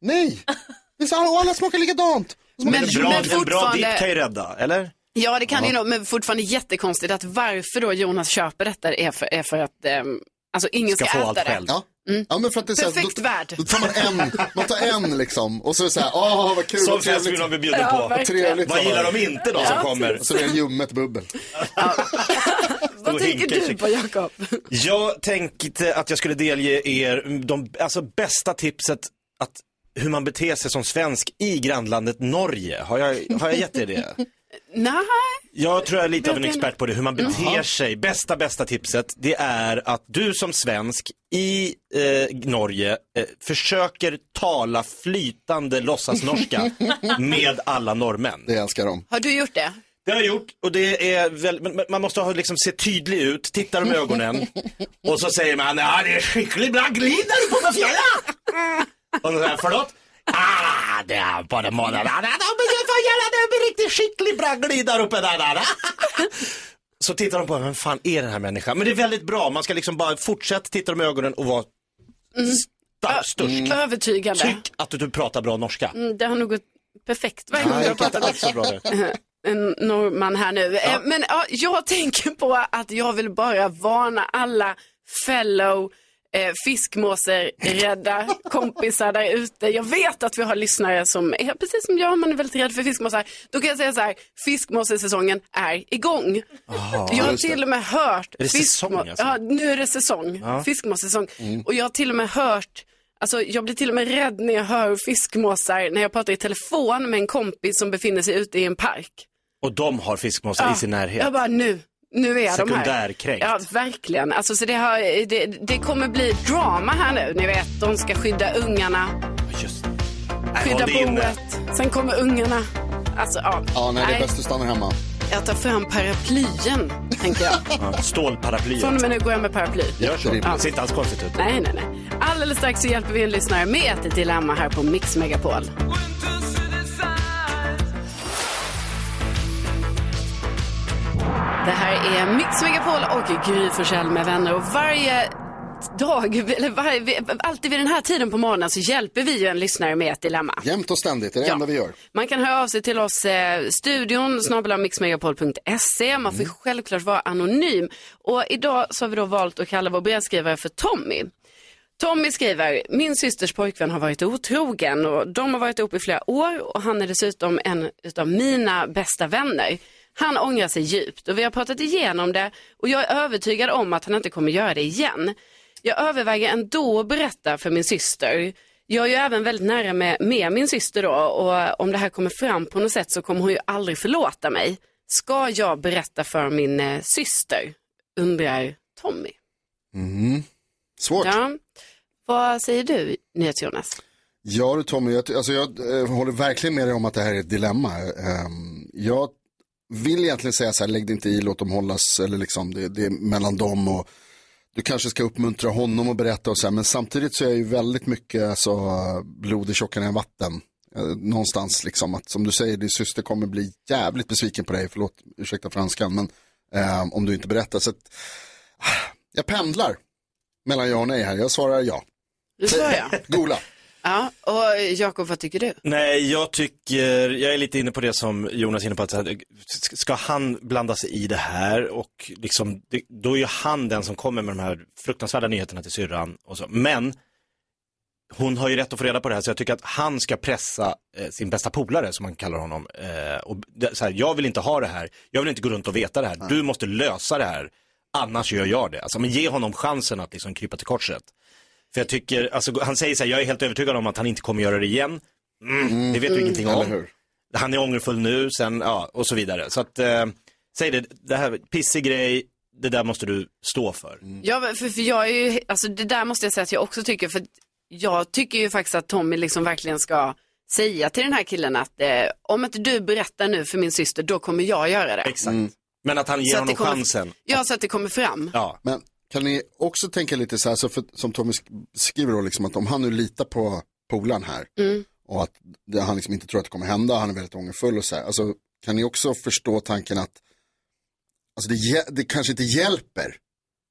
Speaker 3: Nej! Det är så, och alla smakar likadant.
Speaker 1: Men-
Speaker 2: Men, en bra,
Speaker 1: men
Speaker 2: en bra
Speaker 1: fortfarande-
Speaker 2: dipp kan ju rädda, eller?
Speaker 1: Ja, det kan
Speaker 2: Ja.
Speaker 1: det ju nog, men fortfarande jättekonstigt att varför då Jonas köper detta är för, är för att ehm, alltså ingen ska,
Speaker 3: Ska få
Speaker 1: äta
Speaker 3: allt
Speaker 1: det.
Speaker 3: själv. Ja.
Speaker 1: Mm.
Speaker 3: Ja, men för att det är så här,
Speaker 1: Perfekt
Speaker 3: då-
Speaker 1: värld.
Speaker 3: Då tar man en, man tar en liksom och så är det så här, åh vad kul,
Speaker 2: Som
Speaker 3: vad trevligt."
Speaker 2: Fällsbyn har vi bjuden på.
Speaker 3: Vad trevligt.
Speaker 2: Vad gillar de inte då som
Speaker 3: Ja.
Speaker 2: kommer?
Speaker 3: Så det är ljummet bubbel.
Speaker 2: Vad tänker du på,
Speaker 1: Jakob?
Speaker 2: Jag tänkte att jag skulle delge er de alltså, bästa tipset att hur man beter sig som svensk i grannlandet Norge. Har jag, har jag gett er det?
Speaker 1: Nej.
Speaker 2: Jag tror jag är lite av en
Speaker 1: Berätta gärna.
Speaker 2: expert på det, hur man beter
Speaker 1: Jaha.
Speaker 2: sig. Bästa, bästa tipset, det är att du som svensk i eh, Norge eh, försöker tala flytande låtsasnorska
Speaker 3: Mm.
Speaker 2: med alla norrmän.
Speaker 3: Det älskar de.
Speaker 1: Har du gjort det?
Speaker 2: Det har jag gjort och det är väl, men- men man måste ha liksom se tydlig ut, titta dem i ögonen och så säger man ja det är skickligt bra, glider du på med fjärran? Och så säger förlåt? Ah, det är på den månaden. Ah, men jag får göra det med riktigt skickligt bra glidar uppe där. där. Så tittar de på vem fan är den här människan? Men det är väldigt bra, man ska liksom bara fortsätta titta dem i ögonen och vara
Speaker 1: Mm.
Speaker 2: sta- störst.
Speaker 1: Övertygande.
Speaker 2: Tyck att du pratar bra norska.
Speaker 1: Mm, det har nog gått perfekt varje gång
Speaker 2: Nej,
Speaker 1: jag har
Speaker 2: jag kan
Speaker 1: pratat
Speaker 2: inte alls så bra
Speaker 1: med en norrman här nu. Eh, Men ja, jag tänker på att jag vill bara varna alla fellow eh, fiskmåserrädda kompisar där ute. Jag vet att vi har lyssnare som är precis som jag, man är väldigt rädd för fiskmåsar. Då kan jag säga så här, fiskmåsesäsongen är igång.
Speaker 5: Aha,
Speaker 1: jag har
Speaker 5: just det.
Speaker 1: till och med hört
Speaker 5: Är det säsong,
Speaker 1: fiskmå-
Speaker 5: alltså?
Speaker 1: ja, nu är det säsong.
Speaker 5: Ja.
Speaker 1: Fiskmåssäsong.
Speaker 5: Mm.
Speaker 1: Och jag har till och med hört, alltså jag blir till och med rädd när jag hör fiskmåsar när jag pratar i telefon med en kompis som befinner sig ute i en park.
Speaker 2: Och de har fiskmåsar i sin närhet.
Speaker 1: Jag bara nu, nu är de här.
Speaker 2: Sekundärkränkt.
Speaker 1: Ja, verkligen. Alltså, så det, har, det, det kommer bli drama här nu, ni vet. De ska skydda ungarna,
Speaker 2: Nej, eh,
Speaker 1: skydda
Speaker 2: håll det inne.
Speaker 1: boet. Sen kommer ungarna. Alltså, ja.
Speaker 3: Ja, nej, det är bäst du stannar hemma.
Speaker 1: Jag tar fram paraplyen, tänker jag.
Speaker 2: Ja, Stålparaplyet.
Speaker 1: Från och med nu går jag med paraply.
Speaker 2: Gör så. Det ser inte alls konstigt ut.
Speaker 1: Nej, nej, nej. Alldeles strax så hjälper vi en lyssnare med ett dilemma här på Mix Megapol. Det här är Mix Megapol och Gry Forssell med vänner och varje dag, eller varje, alltid vid den här tiden på morgonen så hjälper vi ju en lyssnare med ett dilemma.
Speaker 3: Jämt och ständigt, det är det
Speaker 1: Ja.
Speaker 3: enda vi gör.
Speaker 1: Man kan höra av sig till oss, eh, studion, snabel-a mixmegapol.se. Man får självklart vara anonym. Och idag så har vi då valt att kalla vår brevskrivare för Tommy. Tommy skriver, min systers pojkvän har varit otrogen och de har varit ihop i flera år och han är dessutom en utav mina bästa vänner. Han ångrar sig djupt och vi har pratat igenom det och jag är övertygad om att han inte kommer göra det igen. Jag överväger ändå att berätta för min syster. Jag är ju även väldigt nära med, med min syster då och om det här kommer fram på något sätt så kommer hon ju aldrig förlåta mig. Ska jag berätta för min eh, syster? Undrar Tommy.
Speaker 3: Mm. Svårt.
Speaker 1: Ja. Vad säger du, NyhetsJonas?
Speaker 3: Ja du Tommy, jag, alltså, jag eh, håller verkligen med dig om att det här är ett dilemma. Ehm, jag vill egentligen säga så här, lägg dig inte i, låt dem hållas, eller liksom det, det är mellan dem och du kanske ska uppmuntra honom och berätta och så här, men samtidigt så är jag ju väldigt mycket alltså, blod i tjockare än vatten. Eh, någonstans liksom att, som du säger, din syster kommer bli jävligt besviken på dig, förlåt, ursäkta franskan, men ehm, om du inte berättar. Så att, ah, jag pendlar mellan ja och nej här, jag svarar ja.
Speaker 1: Du svarar ja.
Speaker 3: Gola.
Speaker 1: Ja, och Jakob, vad tycker du?
Speaker 2: Nej, jag tycker, jag är lite inne på det som Jonas är inne på, att så här, ska han blanda sig i det här och liksom, det, då är ju han den som kommer med de här fruktansvärda nyheterna till syrran och så. Men hon har ju rätt att få reda på det här så jag tycker att han ska pressa eh, sin bästa polare som man kallar honom. Eh, och det, så här, jag vill inte ha det här, jag vill inte gå runt och veta det här, du måste lösa det här, annars gör jag det. Alltså, men ge honom chansen att liksom krypa till korset. För jag tycker, alltså, han säger så här, jag är helt övertygad om att han inte kommer göra det igen. Mm, det vet du
Speaker 3: Mm.
Speaker 2: ingenting
Speaker 3: Eller
Speaker 2: om. Han är ångerfull nu, sen, ja, och så vidare. Så att, eh, säg det, det här, pissig grej, det där måste du stå för.
Speaker 1: Ja, för, för jag är ju, alltså det där måste jag säga att jag också tycker, för jag tycker ju faktiskt att Tommy liksom verkligen ska säga till den här killen att eh, om inte du berättar nu för min syster, då kommer jag göra det.
Speaker 2: Exakt. Men att han ger
Speaker 1: Mm. Så att
Speaker 2: honom
Speaker 1: det kommer-
Speaker 2: chansen.
Speaker 1: Ja, så att det kommer fram.
Speaker 2: Ja.
Speaker 3: Men kan ni också tänka lite så här, så för, som Tommy sk- skriver då, liksom, att om han nu litar på polaren här
Speaker 1: Mm.
Speaker 3: och att det, han liksom inte tror att det kommer hända, han är väldigt ångerfull och så här. Alltså, kan ni också förstå tanken att alltså, det, hjä- det kanske inte hjälper?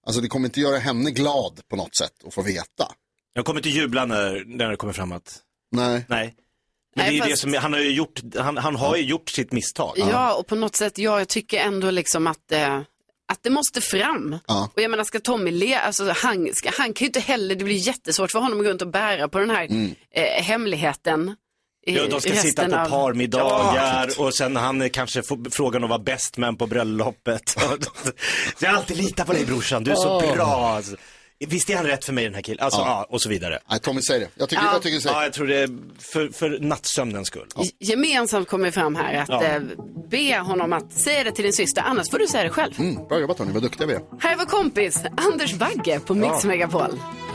Speaker 3: Alltså det kommer inte göra henne glad på något sätt att få veta.
Speaker 2: Jag kommer inte jubla när, när det kommer fram att...
Speaker 3: Nej.
Speaker 2: Nej. Men
Speaker 1: Nej,
Speaker 2: det är ju det
Speaker 1: fast-
Speaker 2: som, han har ju gjort, han, han har ju gjort sitt misstag.
Speaker 1: Ja, och på något sätt, ja, jag tycker ändå liksom att, eh, att det måste fram.
Speaker 3: Ja.
Speaker 1: Och jag menar, ska Tommy le, alltså han, ska, han kan ju inte heller, det blir jättesvårt för honom att gå runt och bära på den här
Speaker 2: Mm.
Speaker 1: eh, hemligheten. i-
Speaker 2: Ja, de ska
Speaker 1: resten
Speaker 2: sitta på
Speaker 1: av-
Speaker 2: parmiddagar och sen han är kanske får frågan om att vara bäst man på bröllopet. jag har alltid litat på dig brorsan, du är så
Speaker 3: Åh.
Speaker 2: bra. alltså. Visst är han rätt för mig den här killen? Alltså, ja.
Speaker 3: Ja.
Speaker 2: och så vidare.
Speaker 3: Nej, Tommy säger det. Jag tycker, jag tycker så.
Speaker 2: Ja, jag tror det är för, för nattsömnens skull.
Speaker 1: Gemensamt kommer fram här att
Speaker 2: Ja.
Speaker 1: eh, be honom att säga det till din syster, annars får du säga det själv.
Speaker 3: Mm, bra jobbat hörni, vad duktiga vi är.
Speaker 1: Här är vår kompis Anders Bagge på Mix
Speaker 3: Ja.
Speaker 1: Megapol.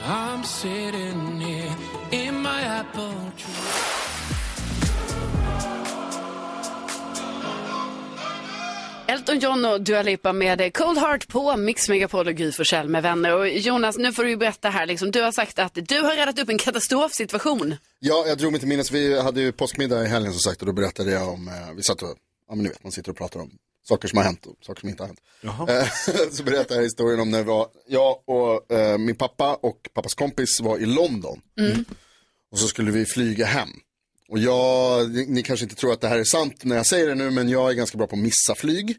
Speaker 10: I'm sitting here in my apple
Speaker 1: Elton John och Dua Lipa med Cold Heart på Mix Megapol och Gry Forssell med vänner. Och Jonas, nu får du ju berätta här, liksom, du har sagt att du har räddat upp en katastrofsituation.
Speaker 3: Ja, jag drog mig till minnes. Vi hade ju påskmiddag i helgen som sagt och då berättade jag om, eh, vi satt och, ja men ni vet, man sitter och pratar om saker som har hänt och saker som inte har hänt. Eh, så berättade jag historien om när vi var, jag och eh, min pappa och pappas kompis var i London
Speaker 1: Mm.
Speaker 3: och så skulle vi flyga hem. Och jag, ni, ni kanske inte tror att det här är sant när jag säger det nu, men jag är ganska bra på att missa flyg.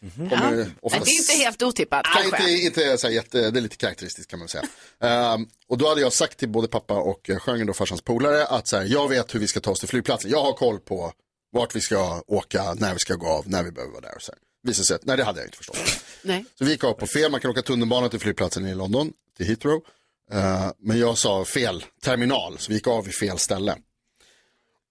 Speaker 3: Kommer
Speaker 1: Ja. Det
Speaker 3: oftast-
Speaker 1: är inte helt otippat
Speaker 3: Nej,
Speaker 1: kanske.
Speaker 3: inte, inte så här jätte, det är lite karaktäristiskt kan man väl säga. Ehm, och då hade jag sagt till både pappa och eh, Sjögren, då farsans polare, att så här, jag vet hur vi ska ta oss till flygplatsen. Jag har koll på vart vi ska åka, när vi ska gå av, när vi behöver vara där och så här. Visade sig att, nej det hade jag inte förstått.
Speaker 1: Nej.
Speaker 3: Så vi gick av på fel, man kan åka tunnelbana till flygplatsen i London, till Heathrow. Eh, men jag sa fel terminal, så vi gick av i fel ställe.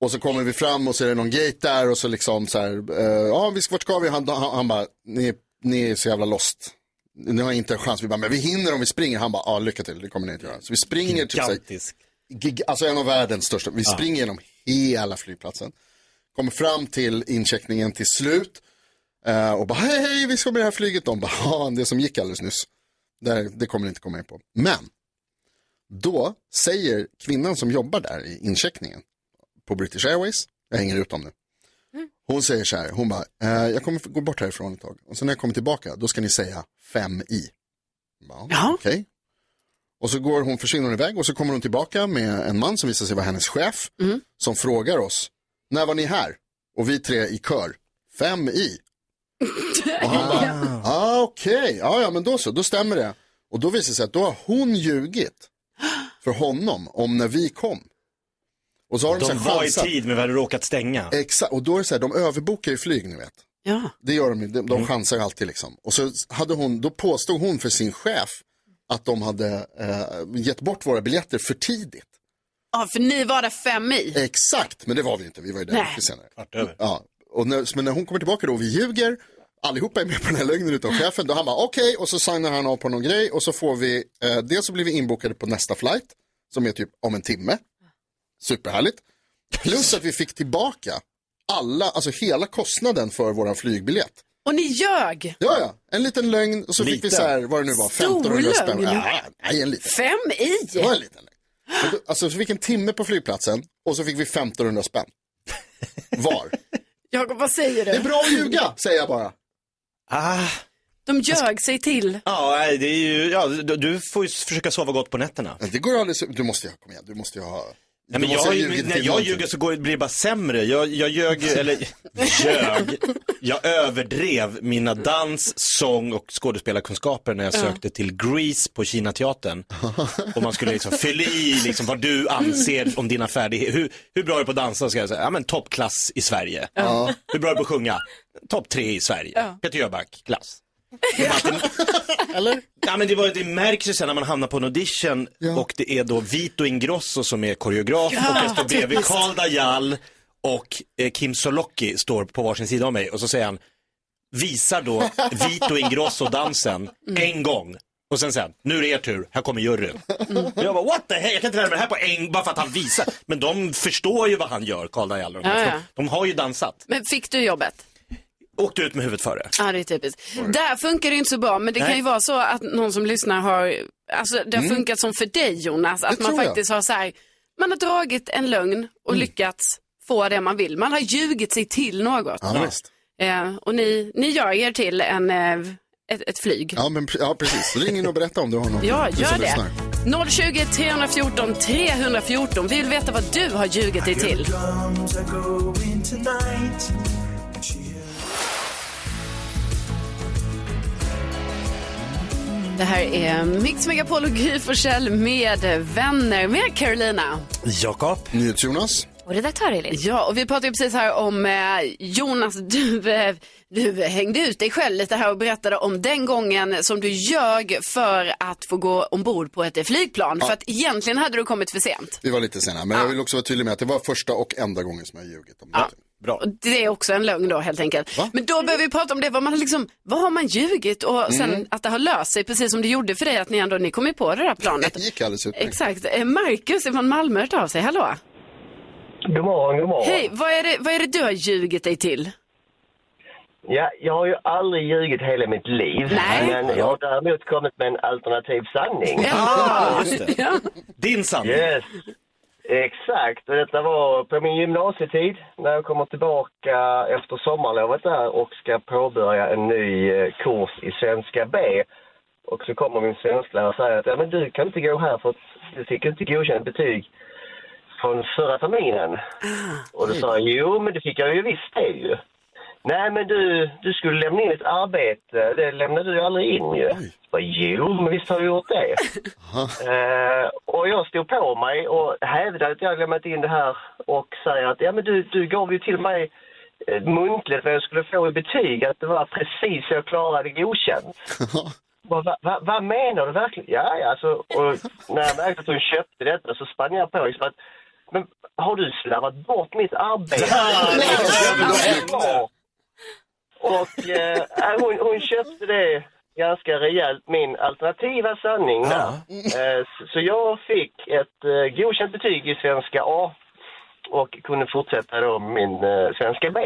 Speaker 3: Och så kommer vi fram och så är det någon gate där och så liksom så här, eh, ja vi ska, vart ska vi? Han, han, han bara, ni, ni är så jävla lost. Ni har inte en chans. Vi bara, men vi hinner om vi springer. Han bara, ja lycka till, det kommer ni inte göra. Så vi springer typ så här,
Speaker 2: Gigantisk.
Speaker 3: gig, alltså en av världens största. Vi
Speaker 2: Ja.
Speaker 3: springer genom hela flygplatsen. Kommer fram till incheckningen till slut. eh, och bara, hej hej, vi ska med det här flyget. De bara, ja det som gick alldeles nyss. Där, det kommer ni inte komma in på. Men, då säger kvinnan som jobbar där i incheckningen på British Airways, jag hänger ut dem nu. Hon säger så här, hon bara, eh, jag kommer gå bort härifrån ett tag. Och sen när jag kommer tillbaka, då ska ni säga 5i. Ja, okej. Och så går hon, försvinner hon iväg och så kommer hon tillbaka med en man som visar sig vara hennes chef. Som frågar oss, när var ni här? Och vi tre i kör, 5i. Och han bara, ah, okej, ja, ja men då så, då stämmer det. Och då visar det sig att då har hon ljugit för honom om när vi kom. Och så har de, så
Speaker 2: De
Speaker 3: här
Speaker 2: var i
Speaker 3: chansat.
Speaker 2: tid men vi hade råkat stänga.
Speaker 3: Exakt, och då är det så här, de överbokar ju flyg ni vet.
Speaker 1: Ja.
Speaker 3: Det gör de ju, de,
Speaker 2: Mm.
Speaker 3: de chansar ju alltid liksom. Och så hade hon, då påstod hon för sin chef att de hade eh, gett bort våra biljetter för tidigt.
Speaker 1: Ja, för ni var där fem i.
Speaker 3: Exakt, men det var vi inte, vi var ju där
Speaker 1: Nej.
Speaker 3: mycket senare. Ja, och när, men när hon kommer tillbaka då och vi ljuger, allihopa är med på den här lögnen utom chefen, då han bara okej, och så signar han av på någon grej och så får vi, eh, dels så blir vi inbokade på nästa flight, som är typ om en timme. Superhärligt. Plus att vi fick tillbaka alla, alltså hela kostnaden för våran flygbiljett.
Speaker 1: Och ni ljög.
Speaker 3: Ja, ja, en liten lögn och så fick vi
Speaker 1: Liten.
Speaker 3: så här, vad det nu var,
Speaker 1: Stor
Speaker 3: 1500 spänn.
Speaker 1: lögn.
Speaker 3: Ja, nej, en liten.
Speaker 1: Fem i?
Speaker 3: Det var en liten lögn. Men då- Alltså, så fick en timme på flygplatsen och så fick vi 1500 spänn. Var.
Speaker 1: Jakob, vad säger du?
Speaker 3: Det är bra att ljuga, säger jag bara.
Speaker 2: Ah.
Speaker 1: De ljög sig till.
Speaker 2: Ja, nej, det är ju, ja, du, du får ju försöka sova gott på nätterna.
Speaker 3: Det går alldeles, du måste ju, kom igen, du måste ju ha.
Speaker 2: Nej,
Speaker 3: du
Speaker 2: men
Speaker 3: måste
Speaker 2: jag,
Speaker 3: ha ljugit
Speaker 2: när
Speaker 3: till
Speaker 2: jag
Speaker 3: någonting.
Speaker 2: ljuger så går, blir det bara sämre. Jag, jag ljög, eller ljög, jag överdrev mina dans, sång och skådespelarkunskaper när jag
Speaker 10: Ja.
Speaker 2: sökte till Grease på Kinateatern. Och man skulle liksom fylla i liksom, vad du anser om dina färdigheter. Hur, hur bra är du på att dansa? Ska jag säga, ja men toppklass i Sverige.
Speaker 10: Ja.
Speaker 2: Hur bra är du på att sjunga? Topp tre i Sverige.
Speaker 10: Ja.
Speaker 2: Peter Jöback, klass. Eller? Ja men det, var, det märks ju sen när man hamnar på en audition och det är då Vito Ingrosso som är koreograf
Speaker 10: Ja,
Speaker 2: och jag står bredvid
Speaker 10: typiskt.
Speaker 2: Karl Dajal och eh, Kim Solocki står på varsin sida av mig och så säger han, visar då Vito Ingrosso dansen en gång Och sen sen, nu är det er tur, här kommer juryn. Jag bara, what the hell, jag kan inte lära mig det här på en bara för att han visar. Men de förstår ju vad han gör, Karl Dajaller. och de här.
Speaker 1: Ja, ja.
Speaker 2: För de- De har ju dansat.
Speaker 1: Men fick du jobbet?
Speaker 2: Åkte ut med huvudet före.
Speaker 1: Ja, det är typiskt. Där funkar det inte så bra, men det
Speaker 2: Nej.
Speaker 1: kan ju vara så att någon som lyssnar har, alltså det har
Speaker 2: Mm.
Speaker 1: funkat som för dig Jonas, att
Speaker 2: Det
Speaker 1: man
Speaker 2: tror jag.
Speaker 1: faktiskt har så här, man har dragit en lögn och lyckats få det man vill. Man har ljugit sig till något.
Speaker 3: Ja, visst.
Speaker 1: Eh, och ni, ni gör er till en, eh, ett, ett flyg.
Speaker 3: Ja, men, pre- ja, precis. Ring in och berätta om du har någon.
Speaker 1: Ja,
Speaker 3: du som
Speaker 1: gör det.
Speaker 3: lyssnar.
Speaker 1: 020 314 314. Vi vill veta vad du har ljugit dig till. Det här är Mix Megapol och Gry Forssell med vänner med Carolina.
Speaker 2: Jakob.
Speaker 3: NyhetsJonas.
Speaker 4: Och redaktör Elin.
Speaker 1: Ja, och vi pratade ju precis här om eh, Jonas, du, eh, du hängde ut dig själv lite här och berättade om den gången som du ljög för att få gå ombord på ett eh, flygplan.
Speaker 3: Ja.
Speaker 1: För att egentligen hade du kommit för sent.
Speaker 3: Vi var lite sena, men jag vill också vara tydlig med att det var första och enda gången som jag har ljugit om det.
Speaker 2: Bra.
Speaker 1: Och Det är också en lögn då helt enkelt. Men då behöver vi prata om det, vad, man har liksom, vad har man ljugit och sen
Speaker 3: Mm.
Speaker 1: att det har löst sig precis som det gjorde för dig att ni ändå ni kom ju på det där planet.
Speaker 3: Det gick alldeles utmärkt.
Speaker 1: Exakt. Eh, Marcus från Malmö har hört av sig, hallå.
Speaker 14: God morgon, god morgon.
Speaker 1: Hej, vad är, det, vad är det du har ljugit dig till?
Speaker 14: Ja, jag har ju aldrig ljugit hela mitt liv. Men jag har däremot kommit med en alternativ sanning.
Speaker 2: Ja, just det. Din sanning.
Speaker 14: Yes. Exakt, och detta var på min gymnasietid när jag kommer tillbaka efter sommarlovet där och ska påbörja en ny eh, kurs i svenska B. Och så kommer min svensklärare och säger att ja, men du kan inte gå här för att du fick inte godkänt betyg från förra terminen. Och då sa jag, jo men det fick jag ju visst det ju. Nej men du, du skulle lämna in ett arbete, det lämnade du aldrig in ju. Jag bara, jo men visst har jag gjort det. eh, och jag stod på mig och hävdade att jag lämnat in det här och säger att ja men du, du gav ju till mig eh, muntligt vad jag skulle få i betyg, att det var precis så jag klarade godkänt. Vad va, va, vad menar du verkligen? Ja, ja, alltså, och när jag märkte att hon köpte detta så spann jag på liksom att men har du slarvat bort mitt arbete? Och eh, hon, hon köpte det ganska rejält, min alternativa sanning. där. Eh, så- så jag fick ett eh, godkänt betyg i svenska A och kunde fortsätta då min eh, svenska B.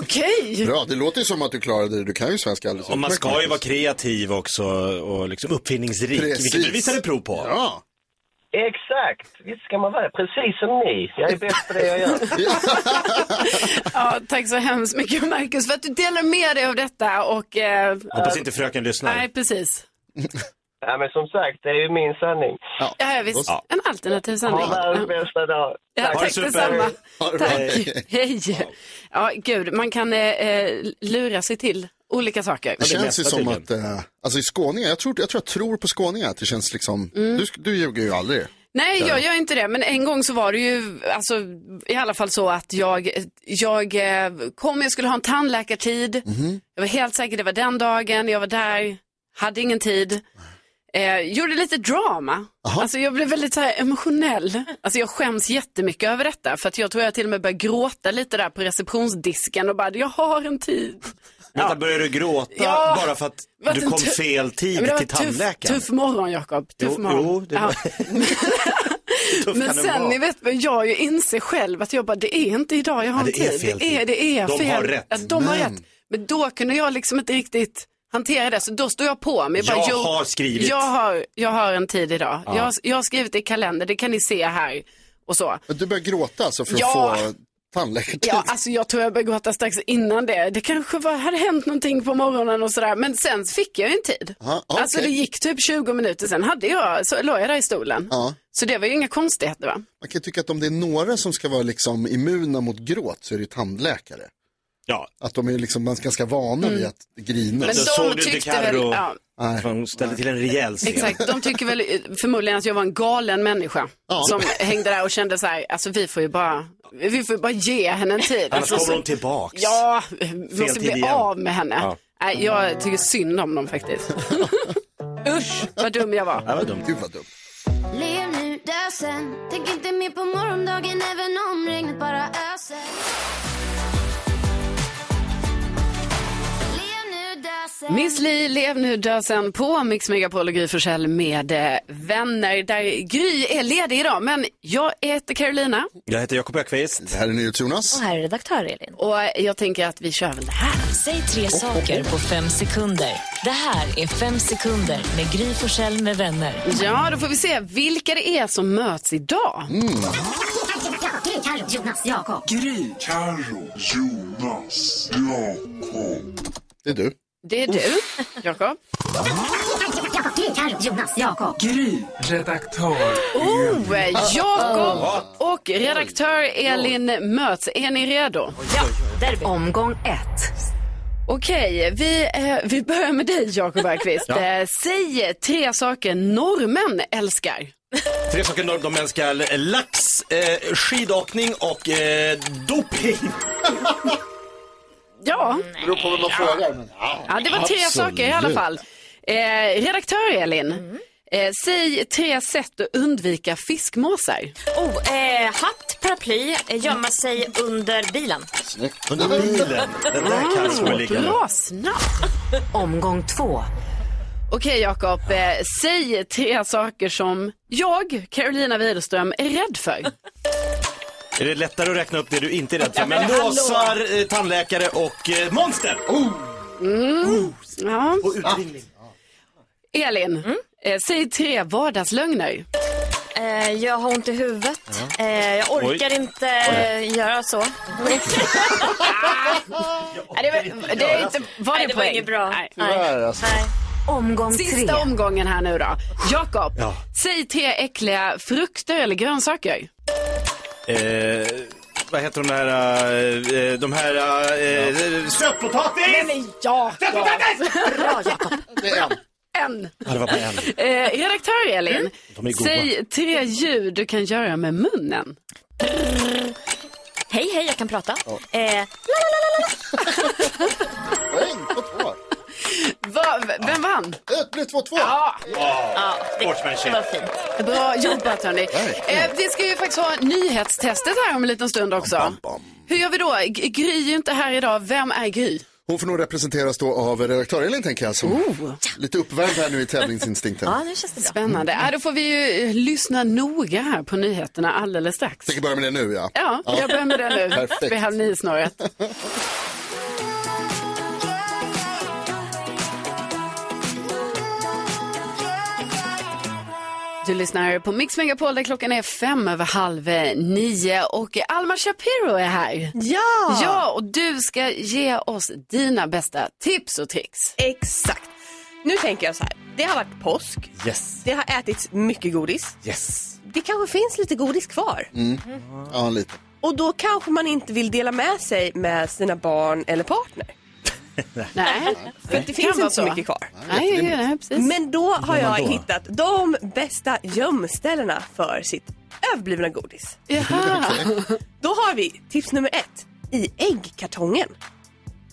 Speaker 1: Okej!
Speaker 3: Bra, det låter ju som att du klarade det. Du kan ju svenska alldeles
Speaker 2: Och man
Speaker 3: utmärkt,
Speaker 2: ska ju
Speaker 3: Marcus.
Speaker 2: vara kreativ också och liksom uppfinningsrik, vilket du
Speaker 3: Precis.
Speaker 2: visade prov på.
Speaker 3: Ja.
Speaker 14: Exakt! Visst ska man vara precis som ni. Jag är bäst på det jag gör.
Speaker 1: Ja, tack så hemskt mycket Marcus för att du delar med dig av detta och... Eh,
Speaker 2: Hoppas inte fröken lyssnar.
Speaker 1: Nej, precis.
Speaker 14: Ja, men som sagt, det är ju min sanning.
Speaker 3: Ja,
Speaker 1: ja visst.
Speaker 2: Ja.
Speaker 1: En alternativ sanning.
Speaker 14: Ha världens bästa dag.
Speaker 1: Ja, tack detsamma. Tack. Hej. Ja, gud, man kan eh, eh, lura sig till olika saker.
Speaker 3: Det känns ju som att, eh, alltså i skåningar, jag tror, jag tror jag tror på skåningar, att det känns liksom, du, sk- du ljuger ju aldrig.
Speaker 1: Mm.
Speaker 3: Eh,
Speaker 1: Nej, jag gör inte det. Men en gång så var det ju alltså, i alla fall så att jag, jag eh, kom, jag skulle ha en tandläkartid.
Speaker 2: Mm-hmm.
Speaker 1: Jag var helt säker, det var den dagen, jag var där, hade ingen tid. Eh, gjorde lite drama. Alltså jag blev väldigt så här emotionell. Alltså jag skäms jättemycket över detta. För att jag tror jag till och med började gråta lite där på receptionsdisken och bara, jag har en tid.
Speaker 2: Vänta, börjar du gråta
Speaker 1: Ja.
Speaker 2: bara för att
Speaker 1: Det var
Speaker 2: du
Speaker 1: en
Speaker 2: kom
Speaker 1: tuff-
Speaker 2: fel
Speaker 1: Ja,
Speaker 2: tid
Speaker 1: men det var
Speaker 2: till
Speaker 1: tuff-
Speaker 2: tandläkaren?
Speaker 1: Tuff morgon, Jakob. Tuff
Speaker 2: Jo,
Speaker 1: morgon.
Speaker 2: jo, det var- Tuff
Speaker 1: Men
Speaker 2: kan den
Speaker 1: sen,
Speaker 2: vara.
Speaker 1: ni vet, men jag ju inser själv att jag bara, det är inte idag jag har
Speaker 2: Ja,
Speaker 1: en
Speaker 2: det är
Speaker 1: tid.
Speaker 2: fel
Speaker 1: det är,
Speaker 2: tid.
Speaker 1: det är
Speaker 2: De
Speaker 1: fel.
Speaker 2: har rätt.
Speaker 1: Ja, de har
Speaker 2: Men-
Speaker 1: rätt. Men då kunde jag liksom inte riktigt hantera det, så då står jag på mig.
Speaker 2: Jag
Speaker 1: bara, jo,
Speaker 2: har skrivit.
Speaker 1: Jag har, jag har en tid idag.
Speaker 3: Ja.
Speaker 1: Jag, har- jag har skrivit det i kalender, det kan ni se här. Och så.
Speaker 3: Men du börjar gråta alltså för att
Speaker 1: Ja.
Speaker 3: få tandläkartid.
Speaker 2: Typ.
Speaker 1: Ja, alltså jag tror jag började gråta strax innan det. Det kanske var, hade hänt någonting på morgonen och sådär. Men sen fick jag ju en tid.
Speaker 3: Aha, okej.
Speaker 1: Alltså det gick typ 20 minuter, sen hade jag, så låg jag där i stolen.
Speaker 3: Ja.
Speaker 1: Så det var ju inga konstigheter va?
Speaker 3: Man kan ju tycka att om det är några som ska vara liksom immuna mot gråt så är det ju tandläkare.
Speaker 2: Ja.
Speaker 3: Att de är liksom ganska vana
Speaker 1: Mm.
Speaker 3: vid att grina.
Speaker 2: Men så såg du inte Carro,
Speaker 1: ja.
Speaker 2: hon ställde till en rejäl scen.
Speaker 1: Exakt, de tycker väl eh, förmodligen att jag var en galen människa.
Speaker 2: Ja.
Speaker 1: Som hängde där och kände så här, alltså vi får ju bara, vi får ju bara ge henne en tid.
Speaker 2: Annars
Speaker 1: Alltså,
Speaker 2: kommer
Speaker 1: så-
Speaker 2: hon tillbaks.
Speaker 1: Ja, vi måste
Speaker 2: tid
Speaker 1: bli
Speaker 2: igen.
Speaker 1: av med henne.
Speaker 2: Ja.
Speaker 1: Nej, jag tycker synd om dem faktiskt. Usch, vad dum jag var.
Speaker 2: Ja, vad dumt.
Speaker 3: Gud vad dumt.
Speaker 15: Lev nu, dö sen Tänk inte mer på morgondagen även om regnet bara öser Lev nu, dö sen
Speaker 1: Miss Li, lev nu, dö sen på Mix Megapol och Gry Forssell med eh, vänner. Där Gry är ledig idag, men jag heter Carolina.
Speaker 2: Jag heter Jakob Ökvist.
Speaker 3: Det här är NyhetsJonas.
Speaker 4: Och här är redaktör Elin.
Speaker 1: Och jag tänker att vi kör väl det här.
Speaker 16: Säg tre saker på fem sekunder. Det här är Fem sekunder med Gry Forssell med vänner.
Speaker 1: Ja, då får vi se vilka det är som möts idag.
Speaker 16: Gry, Carro, Jonas, Jakob.
Speaker 1: Gry.
Speaker 3: Carro, Jonas, Jakob. Det är du.
Speaker 1: Det är du, Jakob.
Speaker 16: Gry, Carro, Jonas, Jakob.
Speaker 17: Gry, redaktör.
Speaker 1: Oh, Jakob och redaktör Elin möts. Är ni redo? Ja,
Speaker 16: derby. Omgång ett.
Speaker 1: Okej, vi, eh, vi börjar med dig Jakob Bergqvist.
Speaker 2: Ja.
Speaker 1: Eh, Säg tre saker norrmän älskar.
Speaker 2: Tre saker norr, de älskar lax, eh, skidåkning och eh, doping.
Speaker 1: Ja.
Speaker 3: Det beror på vem man frågar. Men,
Speaker 1: Ja, det var tre saker i alla fall. Eh, redaktör Elin, eh, säg tre sätt att undvika fiskmåsar.
Speaker 4: Oh, eh, hatt, paraply, eh, gömma sig under bilen.
Speaker 2: Under bilen. Den
Speaker 1: Ah,
Speaker 2: där kan som är lika nu.
Speaker 1: Bra snabbt.
Speaker 16: Omgång två.
Speaker 1: Okej Jakob, eh, säg tre saker som jag, Carolina Widerström, är rädd för.
Speaker 2: Är det lättare att räkna upp det du inte är rädd för?
Speaker 1: Ja,
Speaker 2: Men
Speaker 1: men hallå.
Speaker 2: nåsar, eh, tandläkare och eh, monster.
Speaker 1: Mm. Ja.
Speaker 2: Och
Speaker 3: Ah,
Speaker 2: utringning.
Speaker 1: Elin,
Speaker 4: Mm.
Speaker 1: eh, säg tre vardagslögner.
Speaker 4: Eh, jag har ont i huvudet. Eh, jag orkar
Speaker 1: Oj.
Speaker 4: inte eh, göra så.
Speaker 1: Nej, det var, det är inte, var det,
Speaker 4: Nej, det var
Speaker 1: poäng?
Speaker 4: inget bra.
Speaker 1: Nej.
Speaker 3: Tyvärr, alltså.
Speaker 16: Omgång
Speaker 1: Sista omgången här nu då. Jakob,
Speaker 2: Ja.
Speaker 1: säg tre äckliga frukter eller grönsaker.
Speaker 2: Eh, vad heter de där, eh, eh, de här, eh, sötpotatis!
Speaker 1: Nej, men ja! Bra Jakob.
Speaker 3: Det är en.
Speaker 1: En.
Speaker 2: Ja, det var bara en.
Speaker 1: Eh, redaktör Elin,
Speaker 2: De är goda.
Speaker 1: säg tre ljud du kan göra med munnen.
Speaker 4: Hej, hej, jag kan prata. Eh,
Speaker 1: Va, v- vem vann?
Speaker 3: Ett blev två, två.
Speaker 1: Ja.
Speaker 18: Ah,
Speaker 2: Ja, sportsmanship.
Speaker 4: Det var fint.
Speaker 1: Bra jobbat hörni. Eh, vi ska ju faktiskt ha nyhetstestet här om en liten stund också. Hur gör vi då? G- Gry är ju inte här idag. Vem är Gry?
Speaker 3: Hon får nog representeras då av redaktör Elin tänker jag. Som
Speaker 1: Oh.
Speaker 3: Lite uppvärmd här nu i tävlingsinstinkten.
Speaker 1: nu känns det bra. Spännande. Ja, då får vi ju eh, lyssna noga här på nyheterna alldeles strax.
Speaker 3: Tänker börja med det nu ja.
Speaker 1: Ja, jag börjar med det nu. Vid
Speaker 3: Perfekt.
Speaker 1: halv nio snarare. Du lyssnar på Mix Megapol där klockan är fem över halv nio och Alma Shapiro är här.
Speaker 19: Ja!
Speaker 1: Ja, och du ska ge oss dina bästa tips och tricks.
Speaker 19: Exakt. Nu tänker jag så här. Det har varit påsk.
Speaker 3: Yes.
Speaker 19: Det har ätits mycket godis.
Speaker 3: Yes.
Speaker 19: Det kanske finns lite godis kvar.
Speaker 3: Mm. Ja, lite.
Speaker 19: Och då kanske man inte vill dela med sig med sina barn eller partner.
Speaker 1: Nej.
Speaker 19: För att det finns
Speaker 1: Kan vara
Speaker 19: inte så
Speaker 1: så.
Speaker 19: mycket kvar.
Speaker 1: Nej, jätterimligt. ja, ja, precis.
Speaker 19: Men då har
Speaker 1: gör
Speaker 19: jag
Speaker 1: man då?
Speaker 19: hittat de bästa gömställena för sitt överblivna godis.
Speaker 1: Jaha.
Speaker 19: Då har vi tips nummer ett i äggkartongen.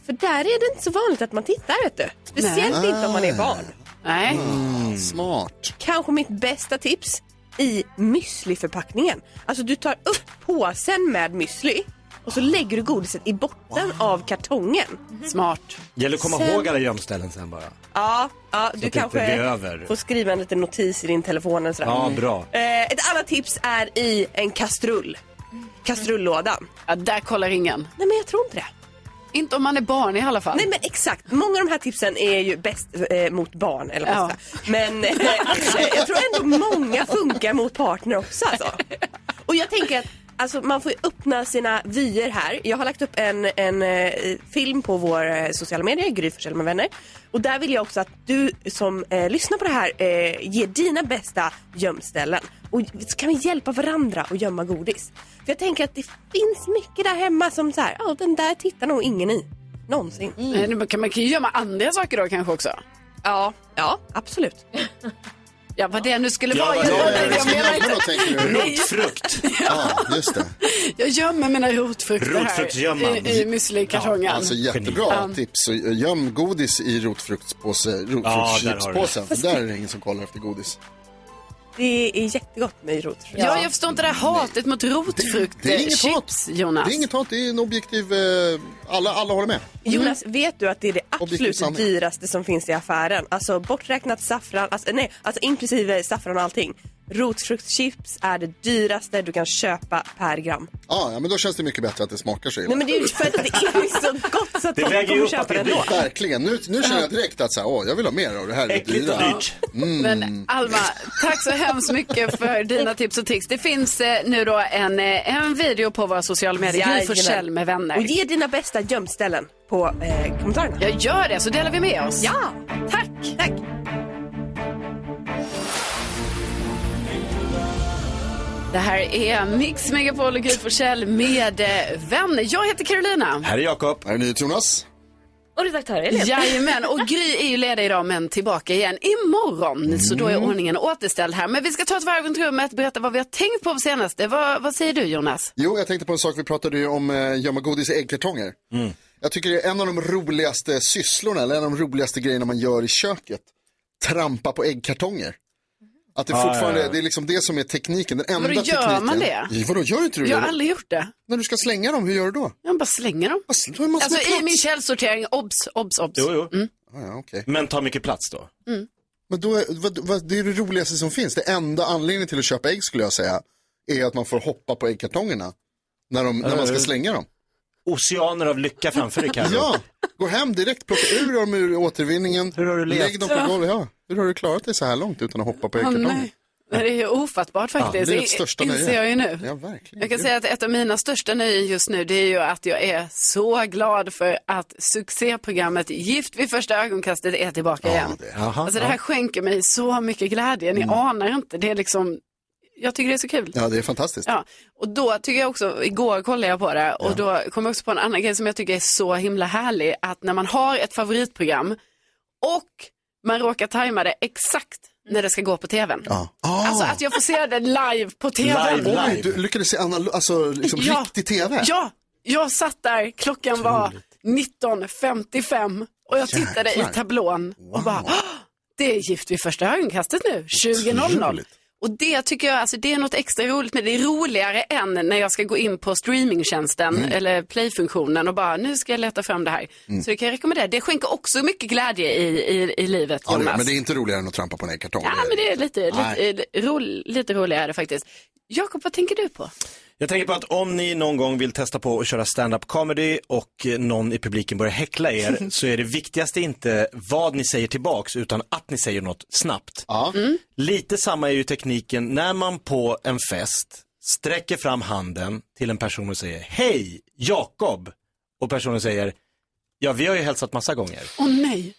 Speaker 19: För där är det inte så vanligt att man tittar, vet du. Speciellt
Speaker 3: Nej.
Speaker 19: inte om man är barn.
Speaker 1: Nej.
Speaker 2: Mm.
Speaker 3: Smart.
Speaker 19: Mm. Kanske mitt bästa tips i müsliförpackningen. Alltså du tar upp påsen med müsli och så lägger du godiset i botten av kartongen.
Speaker 1: Smart.
Speaker 2: Gäller att komma
Speaker 19: Sen-
Speaker 2: ihåg alla gömställen sen bara.
Speaker 19: Ja, ja
Speaker 2: att
Speaker 19: du
Speaker 2: det
Speaker 19: kanske
Speaker 2: inte blir över.
Speaker 19: får skriva en liten notis i din telefon. eller sådär.
Speaker 2: Ja, bra.
Speaker 19: Eh, ett annat tips är i en kastrull. Kastrullådan.
Speaker 1: Ja, där kollar ingen.
Speaker 19: Nej, men jag tror inte det.
Speaker 1: Inte om man är barn i alla fall.
Speaker 19: Nej, men exakt. Många av de här tipsen är ju bäst eh, mot barn. Eller
Speaker 1: Ja.
Speaker 19: ja. Men eh, jag tror ändå många funkar mot partner också. Alltså. Och jag tänker att Alltså man får ju öppna sina vyer här. Jag har lagt upp en, en eh, film på våra eh, sociala medier, Gry Forssell med vänner. Och där vill jag också att du som eh, lyssnar på det här eh, ger dina bästa gömställen. Och så kan vi hjälpa varandra att gömma godis. För jag tänker att det finns mycket där hemma som så här, ja den där tittar nog ingen i. Någonsin.
Speaker 1: Nej, men kan man kan ju gömma andra saker då kanske också.
Speaker 19: Ja, ja absolut.
Speaker 1: Ja, vad det nu skulle
Speaker 19: Ja,
Speaker 1: vara.
Speaker 19: vad det
Speaker 1: Jag,
Speaker 19: nu
Speaker 1: jag,
Speaker 19: skulle
Speaker 1: menar
Speaker 19: vara,
Speaker 1: inte-
Speaker 19: tänker du?
Speaker 1: Nej,
Speaker 2: Frukt.
Speaker 3: Ja, just det.
Speaker 1: jag gömmer mina rotfrukter
Speaker 3: Rotfruktsgömman.
Speaker 1: här i, i müslikartongen.
Speaker 3: Ja, alltså jättebra tips. eh, Göm godis i rotfruktspåse,
Speaker 2: Ja, där har du det.
Speaker 3: rotfruktschippspåsen. för där är det ingen som kollar efter godis.
Speaker 19: Det är jättegott med rotfrukt.
Speaker 1: Ja, jag förstår inte det här hatet mot rotfrukt.
Speaker 19: det är inget
Speaker 1: Eh, chips,
Speaker 19: hat.
Speaker 1: Jonas.
Speaker 3: Det är inget hat, det är en objektiv... Eh, alla, alla håller med.
Speaker 19: Mm. Jonas, vet du att det är det
Speaker 3: Objektiv
Speaker 19: absolut
Speaker 3: sanning.
Speaker 19: dyraste som finns i affären? Alltså borträknat saffran, alltså, nej, alltså inklusive saffran och allting. Rotfruktschips är det dyraste du kan köpa per gram.
Speaker 3: Ah, ja, men då känns det mycket bättre att det smakar så illa.
Speaker 19: Nej men det är ju för att det är ju så gott så att folk kommer köpa det ändå.
Speaker 3: Verkligen. Nu, nu känner jag direkt att så här, åh, jag vill ha mer av det här. det är
Speaker 1: Äckligt och
Speaker 3: dyra.
Speaker 1: dyrt.
Speaker 3: Mm.
Speaker 1: Men Alma, tack så hemskt mycket för dina tips och tricks. Det finns eh, nu då en, eh, en video på våra sociala medier. Gry
Speaker 19: Jajamän.
Speaker 1: Forssell med vänner.
Speaker 19: Och ge dina bästa gömställen på eh, kommentarerna.
Speaker 1: Jag gör det, så delar vi med oss.
Speaker 19: Ja, tack. tack.
Speaker 1: Det här är Mix Megapol och Gry Forssell med eh, vänner. Jag heter Carolina.
Speaker 3: Här är Jakob. Här är ni Jonas.
Speaker 4: Och redaktör Elin.
Speaker 1: Jajamän, och Gry är ju ledig idag men tillbaka igen imorgon. Så då är
Speaker 4: Mm.
Speaker 1: ordningen återställd här. Men vi ska ta ett varv runt rummet, berätta vad vi har tänkt på senaste. Vad, vad säger du Jonas?
Speaker 3: Jo, jag tänkte på en sak. Vi pratade ju om eh, gömma godis i äggkartonger.
Speaker 2: Mm.
Speaker 3: Jag tycker det är en av de roligaste sysslorna, eller en av de roligaste grejerna man gör i köket. Trampa på äggkartonger. Att det
Speaker 20: Ah,
Speaker 3: fortfarande,
Speaker 20: ja, ja.
Speaker 3: det är liksom det som är tekniken, den enda
Speaker 1: Vadå,
Speaker 3: tekniken.
Speaker 1: gör man det?
Speaker 3: Ja, Vadå, gör inte du det?
Speaker 1: Jag har aldrig gjort det.
Speaker 3: När du ska slänga dem, hur gör du då?
Speaker 1: Jag bara slänger dem.
Speaker 3: man
Speaker 1: Alltså
Speaker 3: små
Speaker 1: i min källsortering, obs, obs, obs.
Speaker 2: Jo, jo.
Speaker 3: Ah, ja, okej.
Speaker 2: Men tar mycket plats då?
Speaker 1: Mm.
Speaker 3: Men då, är- vad, vad, det är det roligaste som finns. Det enda anledningen till att köpa ägg skulle jag säga är att man får hoppa på äggkartongerna när, de, när man
Speaker 2: Eh,
Speaker 3: ska slänga dem.
Speaker 2: Oceaner av lycka framför dig Carro.
Speaker 3: Ja, gå hem direkt, plocka ur dem ur återvinningen, Hur har du
Speaker 2: levt?
Speaker 3: lägg dem på golvet. Ja. Hur har du klarat dig så här långt utan att hoppa på
Speaker 1: Ja,
Speaker 3: äggkartongen?
Speaker 1: nej. Men Det är ju ofattbart
Speaker 3: Ja,
Speaker 1: faktiskt.
Speaker 3: det är ett största
Speaker 1: inser
Speaker 3: nöje.
Speaker 1: jag ju nu.
Speaker 3: Ja, verkligen.
Speaker 1: Jag kan säga att ett av mina största nöjen just nu det är ju att jag är så glad för att succéprogrammet Gift vid första ögonkastet är tillbaka igen.
Speaker 3: Aha,
Speaker 1: alltså det här
Speaker 3: ja. Mm.
Speaker 1: skänker mig så mycket glädje, ni anar inte. Det är liksom, jag tycker det är så kul.
Speaker 3: Ja, det är fantastiskt.
Speaker 1: Ja, och då tycker jag också, igår kollade jag på det och då kom jag också på en annan grej som jag tycker är så himla härlig, att när man har ett favoritprogram och man råkar tajma det exakt när det ska gå på tvn. Alltså att jag får se det live på tvn.
Speaker 3: Ah. Oj, du lyckades se anal- alltså, liksom
Speaker 1: Ja.
Speaker 3: riktig tv.
Speaker 1: Ja, jag satt där, klockan var 19.55 och jag tittade
Speaker 3: Jäklar.
Speaker 1: i tablån och bara, "Åh, det är Gift vid första ögonkastet nu, 20.00.
Speaker 3: Otroligt.
Speaker 1: Och det tycker jag, alltså det är något extra roligt med det. Det är roligare än när jag ska gå in på streamingtjänsten eller playfunktionen och bara, nu ska jag leta fram det här.
Speaker 3: Mm.
Speaker 1: Så det kan jag rekommendera. Det skänker också mycket glädje i, i, i livet,
Speaker 3: Ja, det,
Speaker 1: Jonas.
Speaker 3: men det är inte roligare än att trampa på en äggkartong.
Speaker 1: Ja, men det är lite,
Speaker 3: Nej.
Speaker 1: lite, eh, ro, lite roligare är det faktiskt. Jakob, vad tänker du på?
Speaker 2: Jag tänker på att om ni någon gång vill testa på att köra stand-up comedy och eh, någon i publiken börjar häckla er så är det viktigaste inte vad ni säger tillbaks utan att ni säger något snabbt. Lite samma är ju tekniken när man på en fest sträcker fram handen till en person och säger Hej Jakob! Och personen säger Ja, vi har ju hälsat massa gånger.
Speaker 1: Åh nej.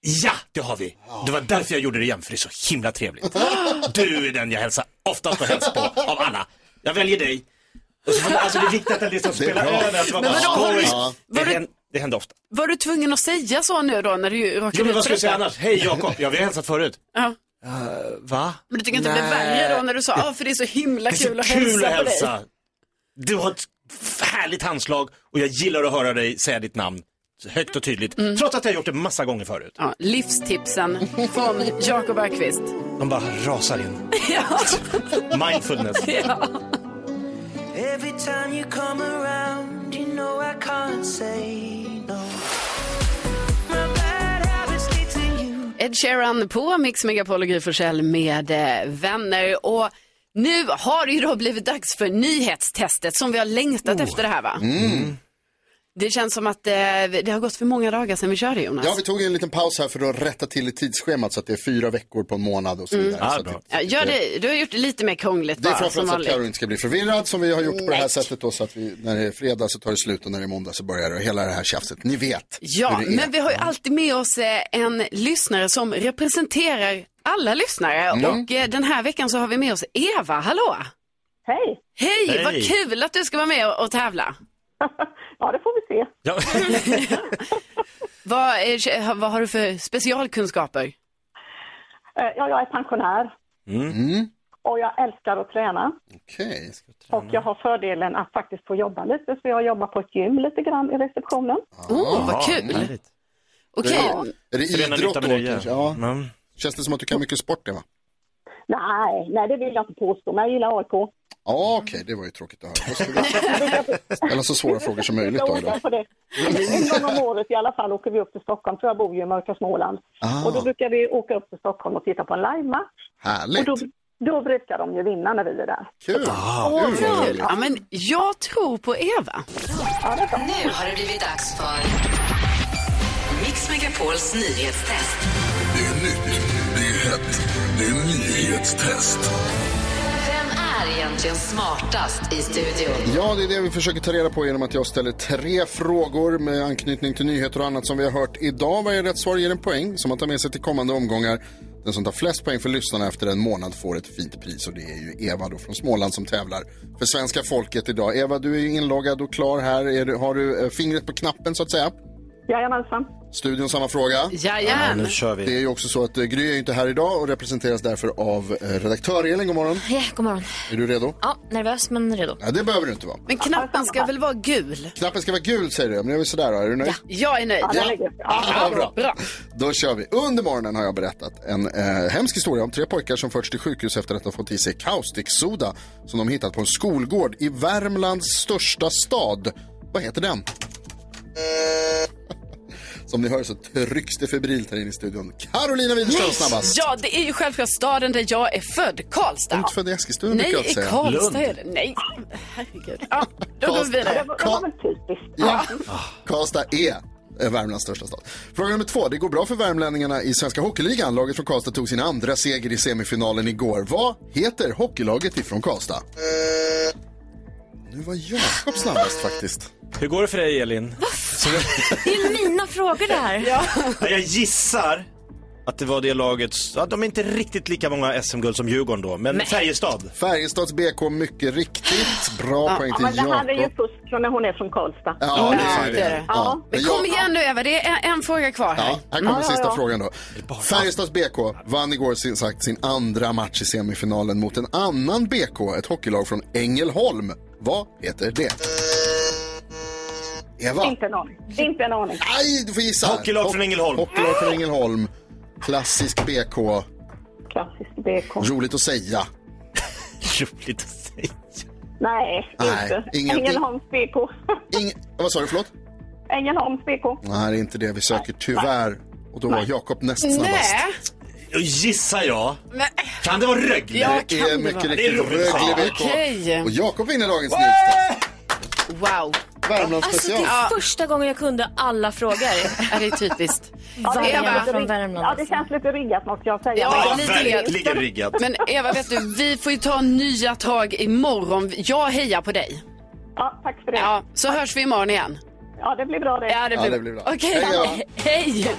Speaker 2: Ja, det har vi. Det var därför jag gjorde det igen, för det är så himla trevligt. Du är den jag hälsar oftast och helst på av alla. Jag väljer dig. Och så, alltså det är viktigt att det liksom
Speaker 3: Det är
Speaker 2: spelar
Speaker 3: bra.
Speaker 2: över, att det var
Speaker 1: Men
Speaker 2: bara
Speaker 1: vadå, har du-
Speaker 2: skoj.
Speaker 1: var
Speaker 2: Det,
Speaker 1: du-
Speaker 2: hän- det händer ofta.
Speaker 1: Var du tvungen att säga så nu då när du råkade
Speaker 2: Jo, men vad
Speaker 1: ut för
Speaker 2: ska jag säga
Speaker 1: detta?
Speaker 2: annars? Hej Jakob, ja vi har hälsat förut.
Speaker 1: Ja.
Speaker 3: Eh,
Speaker 2: Uh, va?
Speaker 1: Men du tycker inte det blev
Speaker 2: Nej.
Speaker 1: värre då när du sa, ja för det är så himla
Speaker 2: Det är så
Speaker 1: kul att
Speaker 2: kul
Speaker 1: hälsa
Speaker 2: att
Speaker 1: på dig.
Speaker 2: hälsa. Du har ett härligt handslag och jag gillar att höra dig säga ditt namn högt och tydligt.
Speaker 1: Mm.
Speaker 2: Trots att jag har gjort det massa gånger förut.
Speaker 1: Ja, livstipsen från Jakob Bergqvist.
Speaker 2: De bara rasar in.
Speaker 1: Ja.
Speaker 2: Mindfulness.
Speaker 1: ja.
Speaker 11: Every time you come around, you know I can't say no. My bad habits lead to you.
Speaker 1: Ed Sheeran på Mix Megapol och Gry Forssell med eh, vänner. Och nu har det ju då blivit dags för nyhetstestet som vi har längtat efter det här va?
Speaker 3: Mm.
Speaker 1: Det känns som att eh, det har gått för många dagar sedan vi körde Jonas.
Speaker 3: Ja, vi tog en liten paus här för att rätta till i tidsschemat så att det är fyra veckor på en månad och så
Speaker 1: Mm.
Speaker 3: vidare.
Speaker 1: Ja,
Speaker 3: så att
Speaker 1: bra.
Speaker 3: det-
Speaker 1: Ja, gör det, du har gjort det lite mer krångligt
Speaker 3: Det är
Speaker 1: bara, som
Speaker 3: framförallt så att
Speaker 1: vanligt.
Speaker 3: Carro inte ska bli förvirrad som vi har gjort på det här
Speaker 1: Nej.
Speaker 3: sättet då så att vi, när det är fredag så tar det slut och när det är måndag så börjar det och hela det här tjafset. Ni vet
Speaker 1: Ja,
Speaker 3: hur det är.
Speaker 1: men vi har ju alltid med oss eh, en lyssnare som representerar alla lyssnare.
Speaker 3: Mm.
Speaker 1: Och eh, den här veckan så har vi med oss Eva, hallå!
Speaker 21: Hej!
Speaker 1: Hej,
Speaker 21: Hej.
Speaker 1: vad kul att du ska vara med och, och tävla.
Speaker 21: ja, det får vi se.
Speaker 1: Vad, är, ha- vad har du för specialkunskaper?
Speaker 21: Eh, Ja, jag är pensionär
Speaker 2: Mm.
Speaker 21: och jag älskar att träna.
Speaker 3: Okej.
Speaker 21: Och jag har fördelen att faktiskt få jobba lite, så jag jobbar på ett gym lite grann i receptionen.
Speaker 3: Ah,
Speaker 1: Åh, vad kul! Okej.
Speaker 3: Är det
Speaker 2: Förena
Speaker 3: idrott
Speaker 2: nytta
Speaker 3: då
Speaker 2: med det,
Speaker 3: kanske? Ja. Känns det som att du kan mycket sport Eva?
Speaker 21: Nej, nej, det vill jag inte påstå, men jag gillar AIK.
Speaker 3: Ja, okej, det var ju tråkigt att höra. Då ska vi ställa så svåra frågor som möjligt då idag.
Speaker 21: Jag på det. En gång om året i alla fall åker vi upp till Stockholm, för jag bor ju i mörka Småland.
Speaker 3: Ah.
Speaker 21: Och då brukar vi åka upp till Stockholm och titta på en livematch.
Speaker 3: Härligt.
Speaker 21: Och då, då brukar de ju vinna när vi är där.
Speaker 3: Kul.
Speaker 1: Åh, vad Ah, kul. Ja, men jag tror på Eva.
Speaker 6: Nu har det blivit dags för Mix Megapols nyhetstest.
Speaker 18: Det är nytt, det är hett, det är nyhetstest.
Speaker 6: Vem är egentligen smartast i studion?
Speaker 3: Ja, det är det vi försöker ta reda på genom att jag ställer tre frågor med anknytning till nyheter och annat som vi har hört idag. Varje rätt svar ger en poäng som man tar med sig till kommande omgångar. Den som tar flest poäng för lyssnarna efter en månad får ett fint pris och det är ju Eva då från Småland som tävlar för svenska folket idag. Eva, du är ju inloggad och klar här. Är du, har du eh, fingret på knappen så att säga?
Speaker 21: Jajamensan.
Speaker 3: Studion samma fråga.
Speaker 1: Jajamän. Ja, nu
Speaker 3: kör vi. Det är ju också så att eh, Gry är ju inte här idag och representeras därför av eh, redaktör Elin. God morgon.
Speaker 4: Ja, god morgon.
Speaker 3: Är du redo?
Speaker 4: Ja, nervös men redo.
Speaker 3: Nej, det behöver du inte vara.
Speaker 1: Men knappen ska väl vara gul?
Speaker 3: Knappen ska vara gul säger du, men jag är väl sådär då. Är du nöjd?
Speaker 1: Jag är nöjd.
Speaker 3: Ja, den är gul. Ja, bra. Då kör vi. Under morgonen har jag berättat en eh, hemsk historia om tre pojkar som förts till sjukhus efter att ha fått i sig kaustiksoda som de hittat på en skolgård i Värmlands största stad. Vad heter den? Som ni hör så trycks det febrilt här inne i studion. Carolina Widerström snabbast.
Speaker 1: Ja, det är ju självklart staden där jag är född, Karlstad.
Speaker 3: Är du inte född i Eskilstuna
Speaker 1: Nej,
Speaker 3: brukar jag
Speaker 1: i
Speaker 3: säga.
Speaker 1: Karlstad är det. Nej, herregud. Ja, då går vi vidare.
Speaker 3: Ja. Karlstad är eh, Värmlands största stad. Fråga nummer två. Det går bra för värmlänningarna i Svenska Hockeyligan. Laget från Karlstad tog sin andra seger i semifinalen igår. Vad heter hockeylaget ifrån Karlstad? Nu var Jakob snabbast faktiskt.
Speaker 2: Hur går det för dig Elin?
Speaker 4: Det är ju mina frågor det här. Ja.
Speaker 2: Nej, Jag gissar att det var det laget, ja, de är inte riktigt lika många SM-guld som Djurgården då, men
Speaker 21: Nej.
Speaker 2: Färjestad.
Speaker 3: Färjestads BK mycket riktigt. Bra poäng till
Speaker 21: men det här är ju
Speaker 3: Jakob.
Speaker 21: fusk från när hon är från Karlstad.
Speaker 3: Ja, det är
Speaker 1: Ja,
Speaker 3: det.
Speaker 1: det är det.
Speaker 3: Ja.
Speaker 1: Men kom igen nu Eva, det är en, en fråga kvar här.
Speaker 3: Ja, här kommer sista frågan då. Färjestads BK vann igår sin, sagt, sin andra match i semifinalen mot en annan BK, ett hockeylag från Ängelholm. Vad heter det? Eva?
Speaker 21: Inte en aning. Inte en aning.
Speaker 3: Nej, du får gissa.
Speaker 2: Hockeylag från Ängelholm.
Speaker 3: Hockeylag från Ängelholm. Klassisk BK.
Speaker 21: Klassisk BK.
Speaker 3: Roligt att säga.
Speaker 2: Roligt att säga.
Speaker 21: Nej,
Speaker 3: Nej,
Speaker 21: inte.
Speaker 3: ingenting.
Speaker 21: Ängelholms BK.
Speaker 3: Vad sa du, förlåt?
Speaker 21: Ängelholms BK.
Speaker 3: Nej, det är inte det vi söker, tyvärr. Och då var Jakob näst snabbast.
Speaker 2: Och gissar jag.
Speaker 1: Nej.
Speaker 2: Kan det vara Rögle?
Speaker 3: det är mycket riktigt
Speaker 2: Det är roligt.
Speaker 3: Rögle
Speaker 2: Fan.
Speaker 3: BK.
Speaker 4: Okej.
Speaker 3: Och Jakob vinner dagens nyhetstest.
Speaker 1: Wow.
Speaker 4: Alltså det
Speaker 3: Värmlandsspecial.
Speaker 4: är första gången jag kunde alla frågor. typ
Speaker 1: Ja, det är typiskt.
Speaker 4: Ja, det
Speaker 1: Eva.
Speaker 4: är från Värmland.
Speaker 21: Ja, det känns lite riggat måste jag säga.
Speaker 1: Ja,
Speaker 2: verkligen riggat.
Speaker 1: Men Eva, vet du, vi får ju ta nya tag imorgon. Jag hejar på dig.
Speaker 21: Ja, tack för det.
Speaker 1: Ja, så hörs vi imorgon igen.
Speaker 21: Ja, det blir bra det.
Speaker 1: Ja, det blir,
Speaker 21: Ja, det blir bra.
Speaker 1: Okej.
Speaker 21: Hej
Speaker 1: Hej.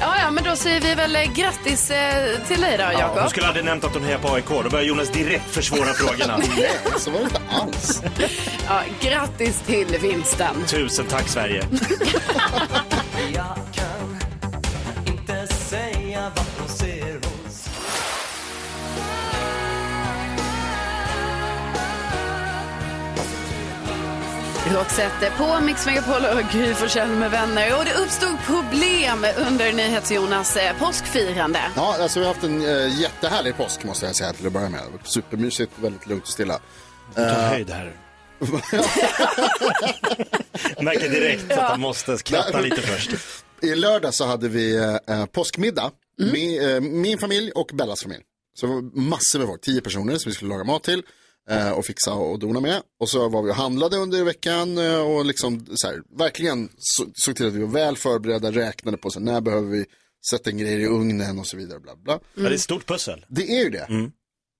Speaker 1: Ja, ja, men då säger vi väl eh, grattis eh, till dig då,
Speaker 2: Ja,
Speaker 1: Jakob.
Speaker 2: hon skulle aldrig nämnt att hon hejar på AIK, då börjar Jonas direkt försvåra frågorna.
Speaker 3: Nej, så var det inte alls.
Speaker 1: Ja, grattis till vinsten.
Speaker 2: Tusen tack Sverige.
Speaker 11: Jag kan inte säga vad hon ser hos
Speaker 1: Roxette på Mix Megapol och Gry Forssell med vänner. Och det uppstod problem under NyhetsJonas eh, påskfirande.
Speaker 3: Ja, alltså vi har haft en eh, jättehärlig påsk måste jag säga till att börja med. Det har varit Supermysigt, väldigt lugnt och stilla. Eh,
Speaker 2: Ta höjd här. Märker direkt att han måste skratta lite först.
Speaker 3: I lördag så hade vi eh, eh, påskmiddag. Min, eh, min familj och Bellas familj. Så det var massor med folk, tio personer som vi skulle laga mat till. eh, Och fixa och dona med. Och så var vi och handlade under veckan. eh, Och liksom så här, verkligen så- såg till att vi var väl förberedda. Räknade på så här, när behöver vi sätta en grej i ugnen och så vidare. Bla, bla.
Speaker 2: Ja, det är ett stort pussel. Mm.
Speaker 3: Det är ju det.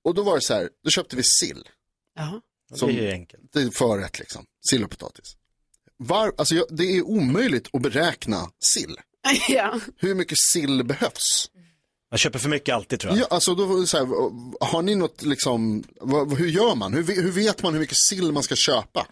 Speaker 3: Och då var det så här, då köpte vi sill.
Speaker 1: Ja.
Speaker 2: Det är ju enkelt.
Speaker 3: Det är förrätt liksom, sill och potatis. Var, alltså jag, det är omöjligt att beräkna sill.
Speaker 1: ja.
Speaker 3: Hur mycket sill behövs?
Speaker 2: Man köper för mycket alltid tror jag.
Speaker 3: Ja, alltså då, var det så här, har ni något liksom, vad, hur gör man? Hur, ve- hur vet man hur mycket sill man ska köpa?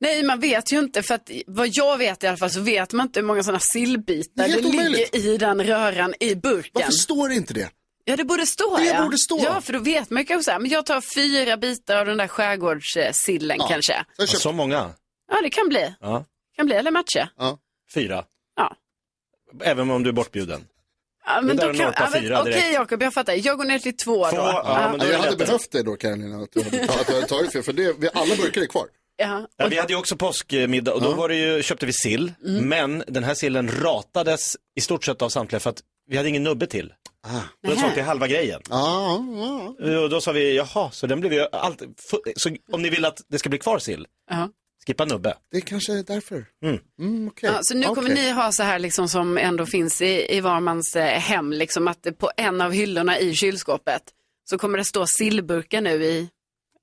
Speaker 1: Nej, man vet ju inte. För att, vad jag vet i alla fall så vet man inte hur många sådana sillbitar
Speaker 3: Det är
Speaker 1: det
Speaker 3: helt omöjligt.
Speaker 1: ligger i den röran i burken.
Speaker 3: Varför står det inte det?
Speaker 1: Ja, det borde stå.
Speaker 3: Det
Speaker 1: ja.
Speaker 3: borde stå.
Speaker 1: Ja, för då vet man ju kanske så här, men jag tar fyra bitar av den där skärgårdssillen
Speaker 2: Ja.
Speaker 1: kanske.
Speaker 2: Ja, så många?
Speaker 1: Ja, det kan bli.
Speaker 2: Ja.
Speaker 1: kan bli, eller matcha.
Speaker 3: ja.
Speaker 2: Fyra?
Speaker 1: Ja.
Speaker 2: Även om du är bortbjuden?
Speaker 1: Ja,
Speaker 3: Det
Speaker 1: men
Speaker 3: där
Speaker 1: då
Speaker 3: är
Speaker 1: kan,
Speaker 3: norpa
Speaker 1: ja, men
Speaker 3: fyra direkt.
Speaker 1: Okej Jakob, jag fattar. Jag går ner till två då.
Speaker 3: Ja,
Speaker 1: Ja.
Speaker 3: men jag hade behövt det då Carolina, att du hade, att du hade tagit för, för det, vi, alla burkar är kvar.
Speaker 1: Ja.
Speaker 2: Ja, vi hade ju också påskmiddag och då var det ju, köpte vi sill,
Speaker 1: Mm.
Speaker 2: men den här sillen ratades i stort sett av samtliga för att vi hade ingen nubbe till. Ah. Den
Speaker 1: Nähä.
Speaker 2: såg till halva grejen. Och då sa vi, jaha, så den blev ju allt, fu- så om ni vill att det ska bli kvar sill,
Speaker 1: Ja.
Speaker 2: skippa nubbe.
Speaker 3: Det kanske är därför.
Speaker 2: Mm.
Speaker 1: Ja, så nu kommer ni ha så här liksom som ändå finns i, i var mans eh, hem, liksom att det på en av hyllorna i kylskåpet så kommer det stå sillburkar nu i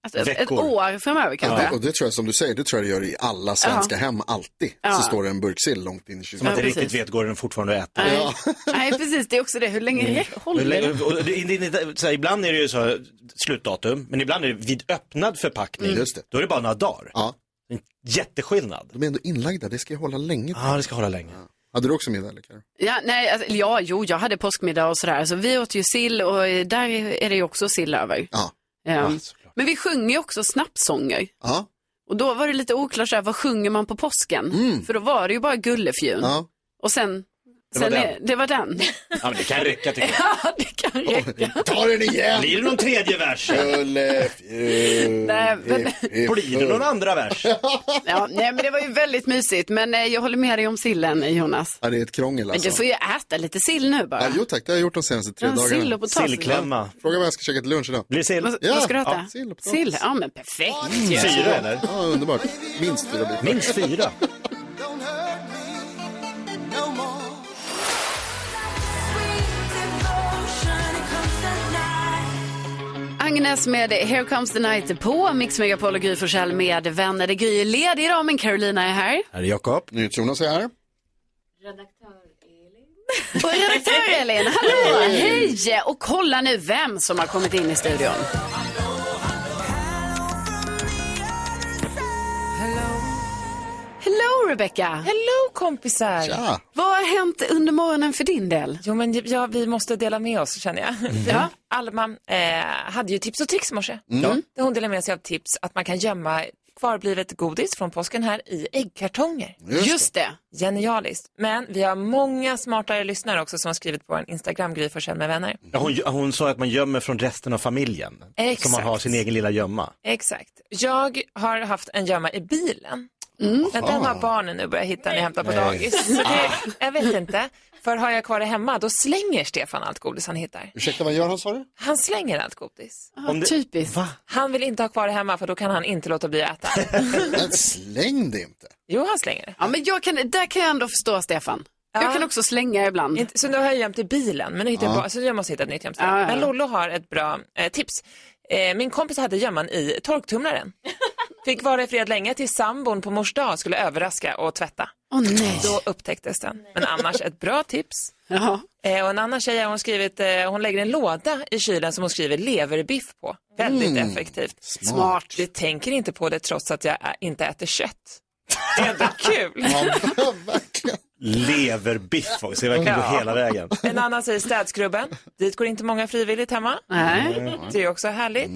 Speaker 1: alltså, ett, ett
Speaker 3: Veckor.
Speaker 1: år framöver
Speaker 3: Ja,
Speaker 1: kanske.
Speaker 3: det, och det tror jag som du säger, det tror jag det gör i alla svenska
Speaker 1: Ja.
Speaker 3: hem alltid.
Speaker 1: Ja.
Speaker 3: Så står det en burk sill långt in i kylen.
Speaker 2: Som man inte riktigt vet, går den fortfarande att äta? Mm.
Speaker 1: Nej. Nej, precis. Det är också det. Hur länge
Speaker 3: Mm.
Speaker 1: räcker- håller det?
Speaker 2: Och det- det- det- det- så här, Ibland är det ju så här, slutdatum, men ibland är det vid öppnad förpackning.
Speaker 3: Mm. Just det.
Speaker 2: Då är det bara några dagar.
Speaker 3: Ja.
Speaker 2: En jätteskillnad.
Speaker 3: De är ändå inlagda, det ska ju hålla länge.
Speaker 2: Ja, det ska hålla länge.
Speaker 3: Hade du också middag eller Karo?
Speaker 1: Ja, nej, alltså, ja, jo, jag hade påskmiddag och sådär. Så vi åt ju sill och eh, där är det ju också sill över.
Speaker 3: Ja.
Speaker 1: Ehm, men vi sjunger ju också snappsånger.
Speaker 3: Ja.
Speaker 1: Och då var det lite oklart så här, vad sjunger man på påsken? För då var det ju bara Gullefjun.
Speaker 3: Mm. Ja.
Speaker 1: Och sen,
Speaker 2: Det var
Speaker 1: sen är- det var den.
Speaker 2: Ja, men det kan räcka tycker jag.
Speaker 1: ja, det kan räcka.
Speaker 3: Ta den igen!
Speaker 2: Blir det någon tredje vers?
Speaker 1: Nej, men-
Speaker 2: Blir det någon andra vers?
Speaker 1: ja, nej, men det var ju väldigt mysigt. Men eh, jag håller med dig om sillen, Jonas.
Speaker 3: Ja, det är ett krångel
Speaker 1: Men
Speaker 3: alltså.
Speaker 1: du får ju äta lite sill nu bara.
Speaker 3: Ja, jo tack, det har jag gjort de senaste tre
Speaker 1: Ja,
Speaker 3: dagarna.
Speaker 1: sill och potatis. Sillklämma.
Speaker 3: Ja, Fråga vad jag ska käka till lunch idag.
Speaker 2: Blir sill? Mm.
Speaker 1: Vad, vad ska du äta?
Speaker 3: Ja, sill Mm. och potatis.
Speaker 1: sill, ja men perfekt. ju.
Speaker 2: Fyra eller?
Speaker 3: Ja, underbart. Minst fyra bitar.
Speaker 2: Minst fyra.
Speaker 1: Agnes med Here comes the night på Mix Megapol och Gry Forssell med vänner. Det är Gry är ledig idag men Carolina är här.
Speaker 2: Här är Jakob.
Speaker 3: Jonas är här.
Speaker 1: Och redaktör Elin, hallå! Hej! Och kolla nu vem som har kommit in i studion. Hello Rebecca!
Speaker 8: Hello kompisar!
Speaker 3: Tja.
Speaker 1: Vad har hänt under morgonen för din del?
Speaker 8: Jo men ja, vi måste dela med oss känner jag.
Speaker 1: Ja.
Speaker 8: Alma eh, hade ju tips och tricks i morse.
Speaker 1: Mhm. Mm. Ja.
Speaker 8: Där Hon delade med sig av tips att man kan gömma kvarblivet godis från påsken här i äggkartonger.
Speaker 1: Just Just det.
Speaker 8: Genialiskt. Men vi har många smartare lyssnare också som har skrivit på vår Instagram, Gry Forssell med vänner.
Speaker 2: Ja, hon, hon sa att man gömmer från resten av familjen. Så
Speaker 8: Exakt.
Speaker 2: man har sin egen lilla gömma.
Speaker 8: Exakt. Jag har haft en gömma i bilen. Men den har barnen nu börjat hitta när jag hämtar på
Speaker 2: Nej.
Speaker 8: dagis. Så det, jag vet inte. För har jag kvar det hemma, då slänger Stefan allt godis han hittar.
Speaker 3: Ursäkta, vad gör han sa du?
Speaker 8: Han slänger allt godis.
Speaker 1: Om det-
Speaker 3: typ.
Speaker 1: Typiskt.
Speaker 8: Han vill inte ha kvar det hemma för då kan han inte låta bli att äta.
Speaker 3: Men släng det inte.
Speaker 8: Jo, han slänger det.
Speaker 1: Ja, men jag kan, där kan jag ändå förstå Stefan. Jag kan också slänga ibland.
Speaker 8: Inte- Så nu har jag gömt i bilen, men nu hittar
Speaker 1: Ja.
Speaker 8: jag bara, så jag måste hitta ett nytt gömställe.
Speaker 1: Ja, ja, ja.
Speaker 8: Men Lollo har ett bra eh, tips. Eh, min kompis hade gömman i torktumlaren. Fick vara i fred länge tills sambon på mors dag skulle överraska och tvätta.
Speaker 1: Åh nej.
Speaker 8: Då upptäcktes den. Men annars ett bra tips.
Speaker 1: Jaha.
Speaker 8: Eh, och en annan tjej har hon skrivit, eh, hon lägger en låda i kylen som hon skriver leverbiff på. Väldigt
Speaker 1: Mm.
Speaker 8: effektivt.
Speaker 1: Smart.
Speaker 8: Jag tänker inte på det trots att jag ä- inte äter kött. Det är ändå kul.
Speaker 2: Leverbiff också, det verkligen
Speaker 8: Ja.
Speaker 2: går hela vägen.
Speaker 8: En annan säger städskrubben. Dit går inte många frivilligt hemma.
Speaker 2: Nej.
Speaker 8: Det är också härligt.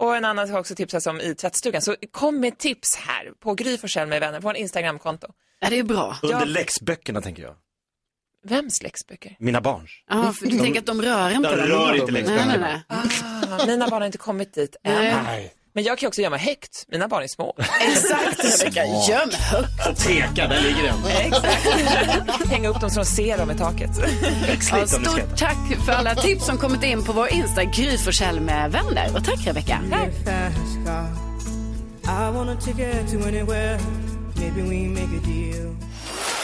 Speaker 8: Och en annan har också tipsat om i tvättstugan. Så kom med tips här på Gry Forssell med vänner, på en Instagramkonto.
Speaker 1: Ja, det är bra.
Speaker 2: Under läxböckerna tänker jag.
Speaker 8: Vems läxböcker?
Speaker 2: Mina barns.
Speaker 1: Ja, för du
Speaker 2: De-
Speaker 1: tänker att de rör
Speaker 2: De
Speaker 1: inte
Speaker 2: rör inte läxböckerna.
Speaker 1: Nej, nej, nej.
Speaker 8: Ah, mina barn har inte kommit dit än. Men jag kan ju också gömma högt. Mina barn är små.
Speaker 1: Exakt, Rebecka. Göm högt.
Speaker 2: Och teka, där ligger den.
Speaker 8: Exakt. Hänga upp dem så de ser dem i taket.
Speaker 1: Ja, stort tack för alla tips som kommit in på vår Insta, Gry Forssell med vänner. Och tack Rebecka.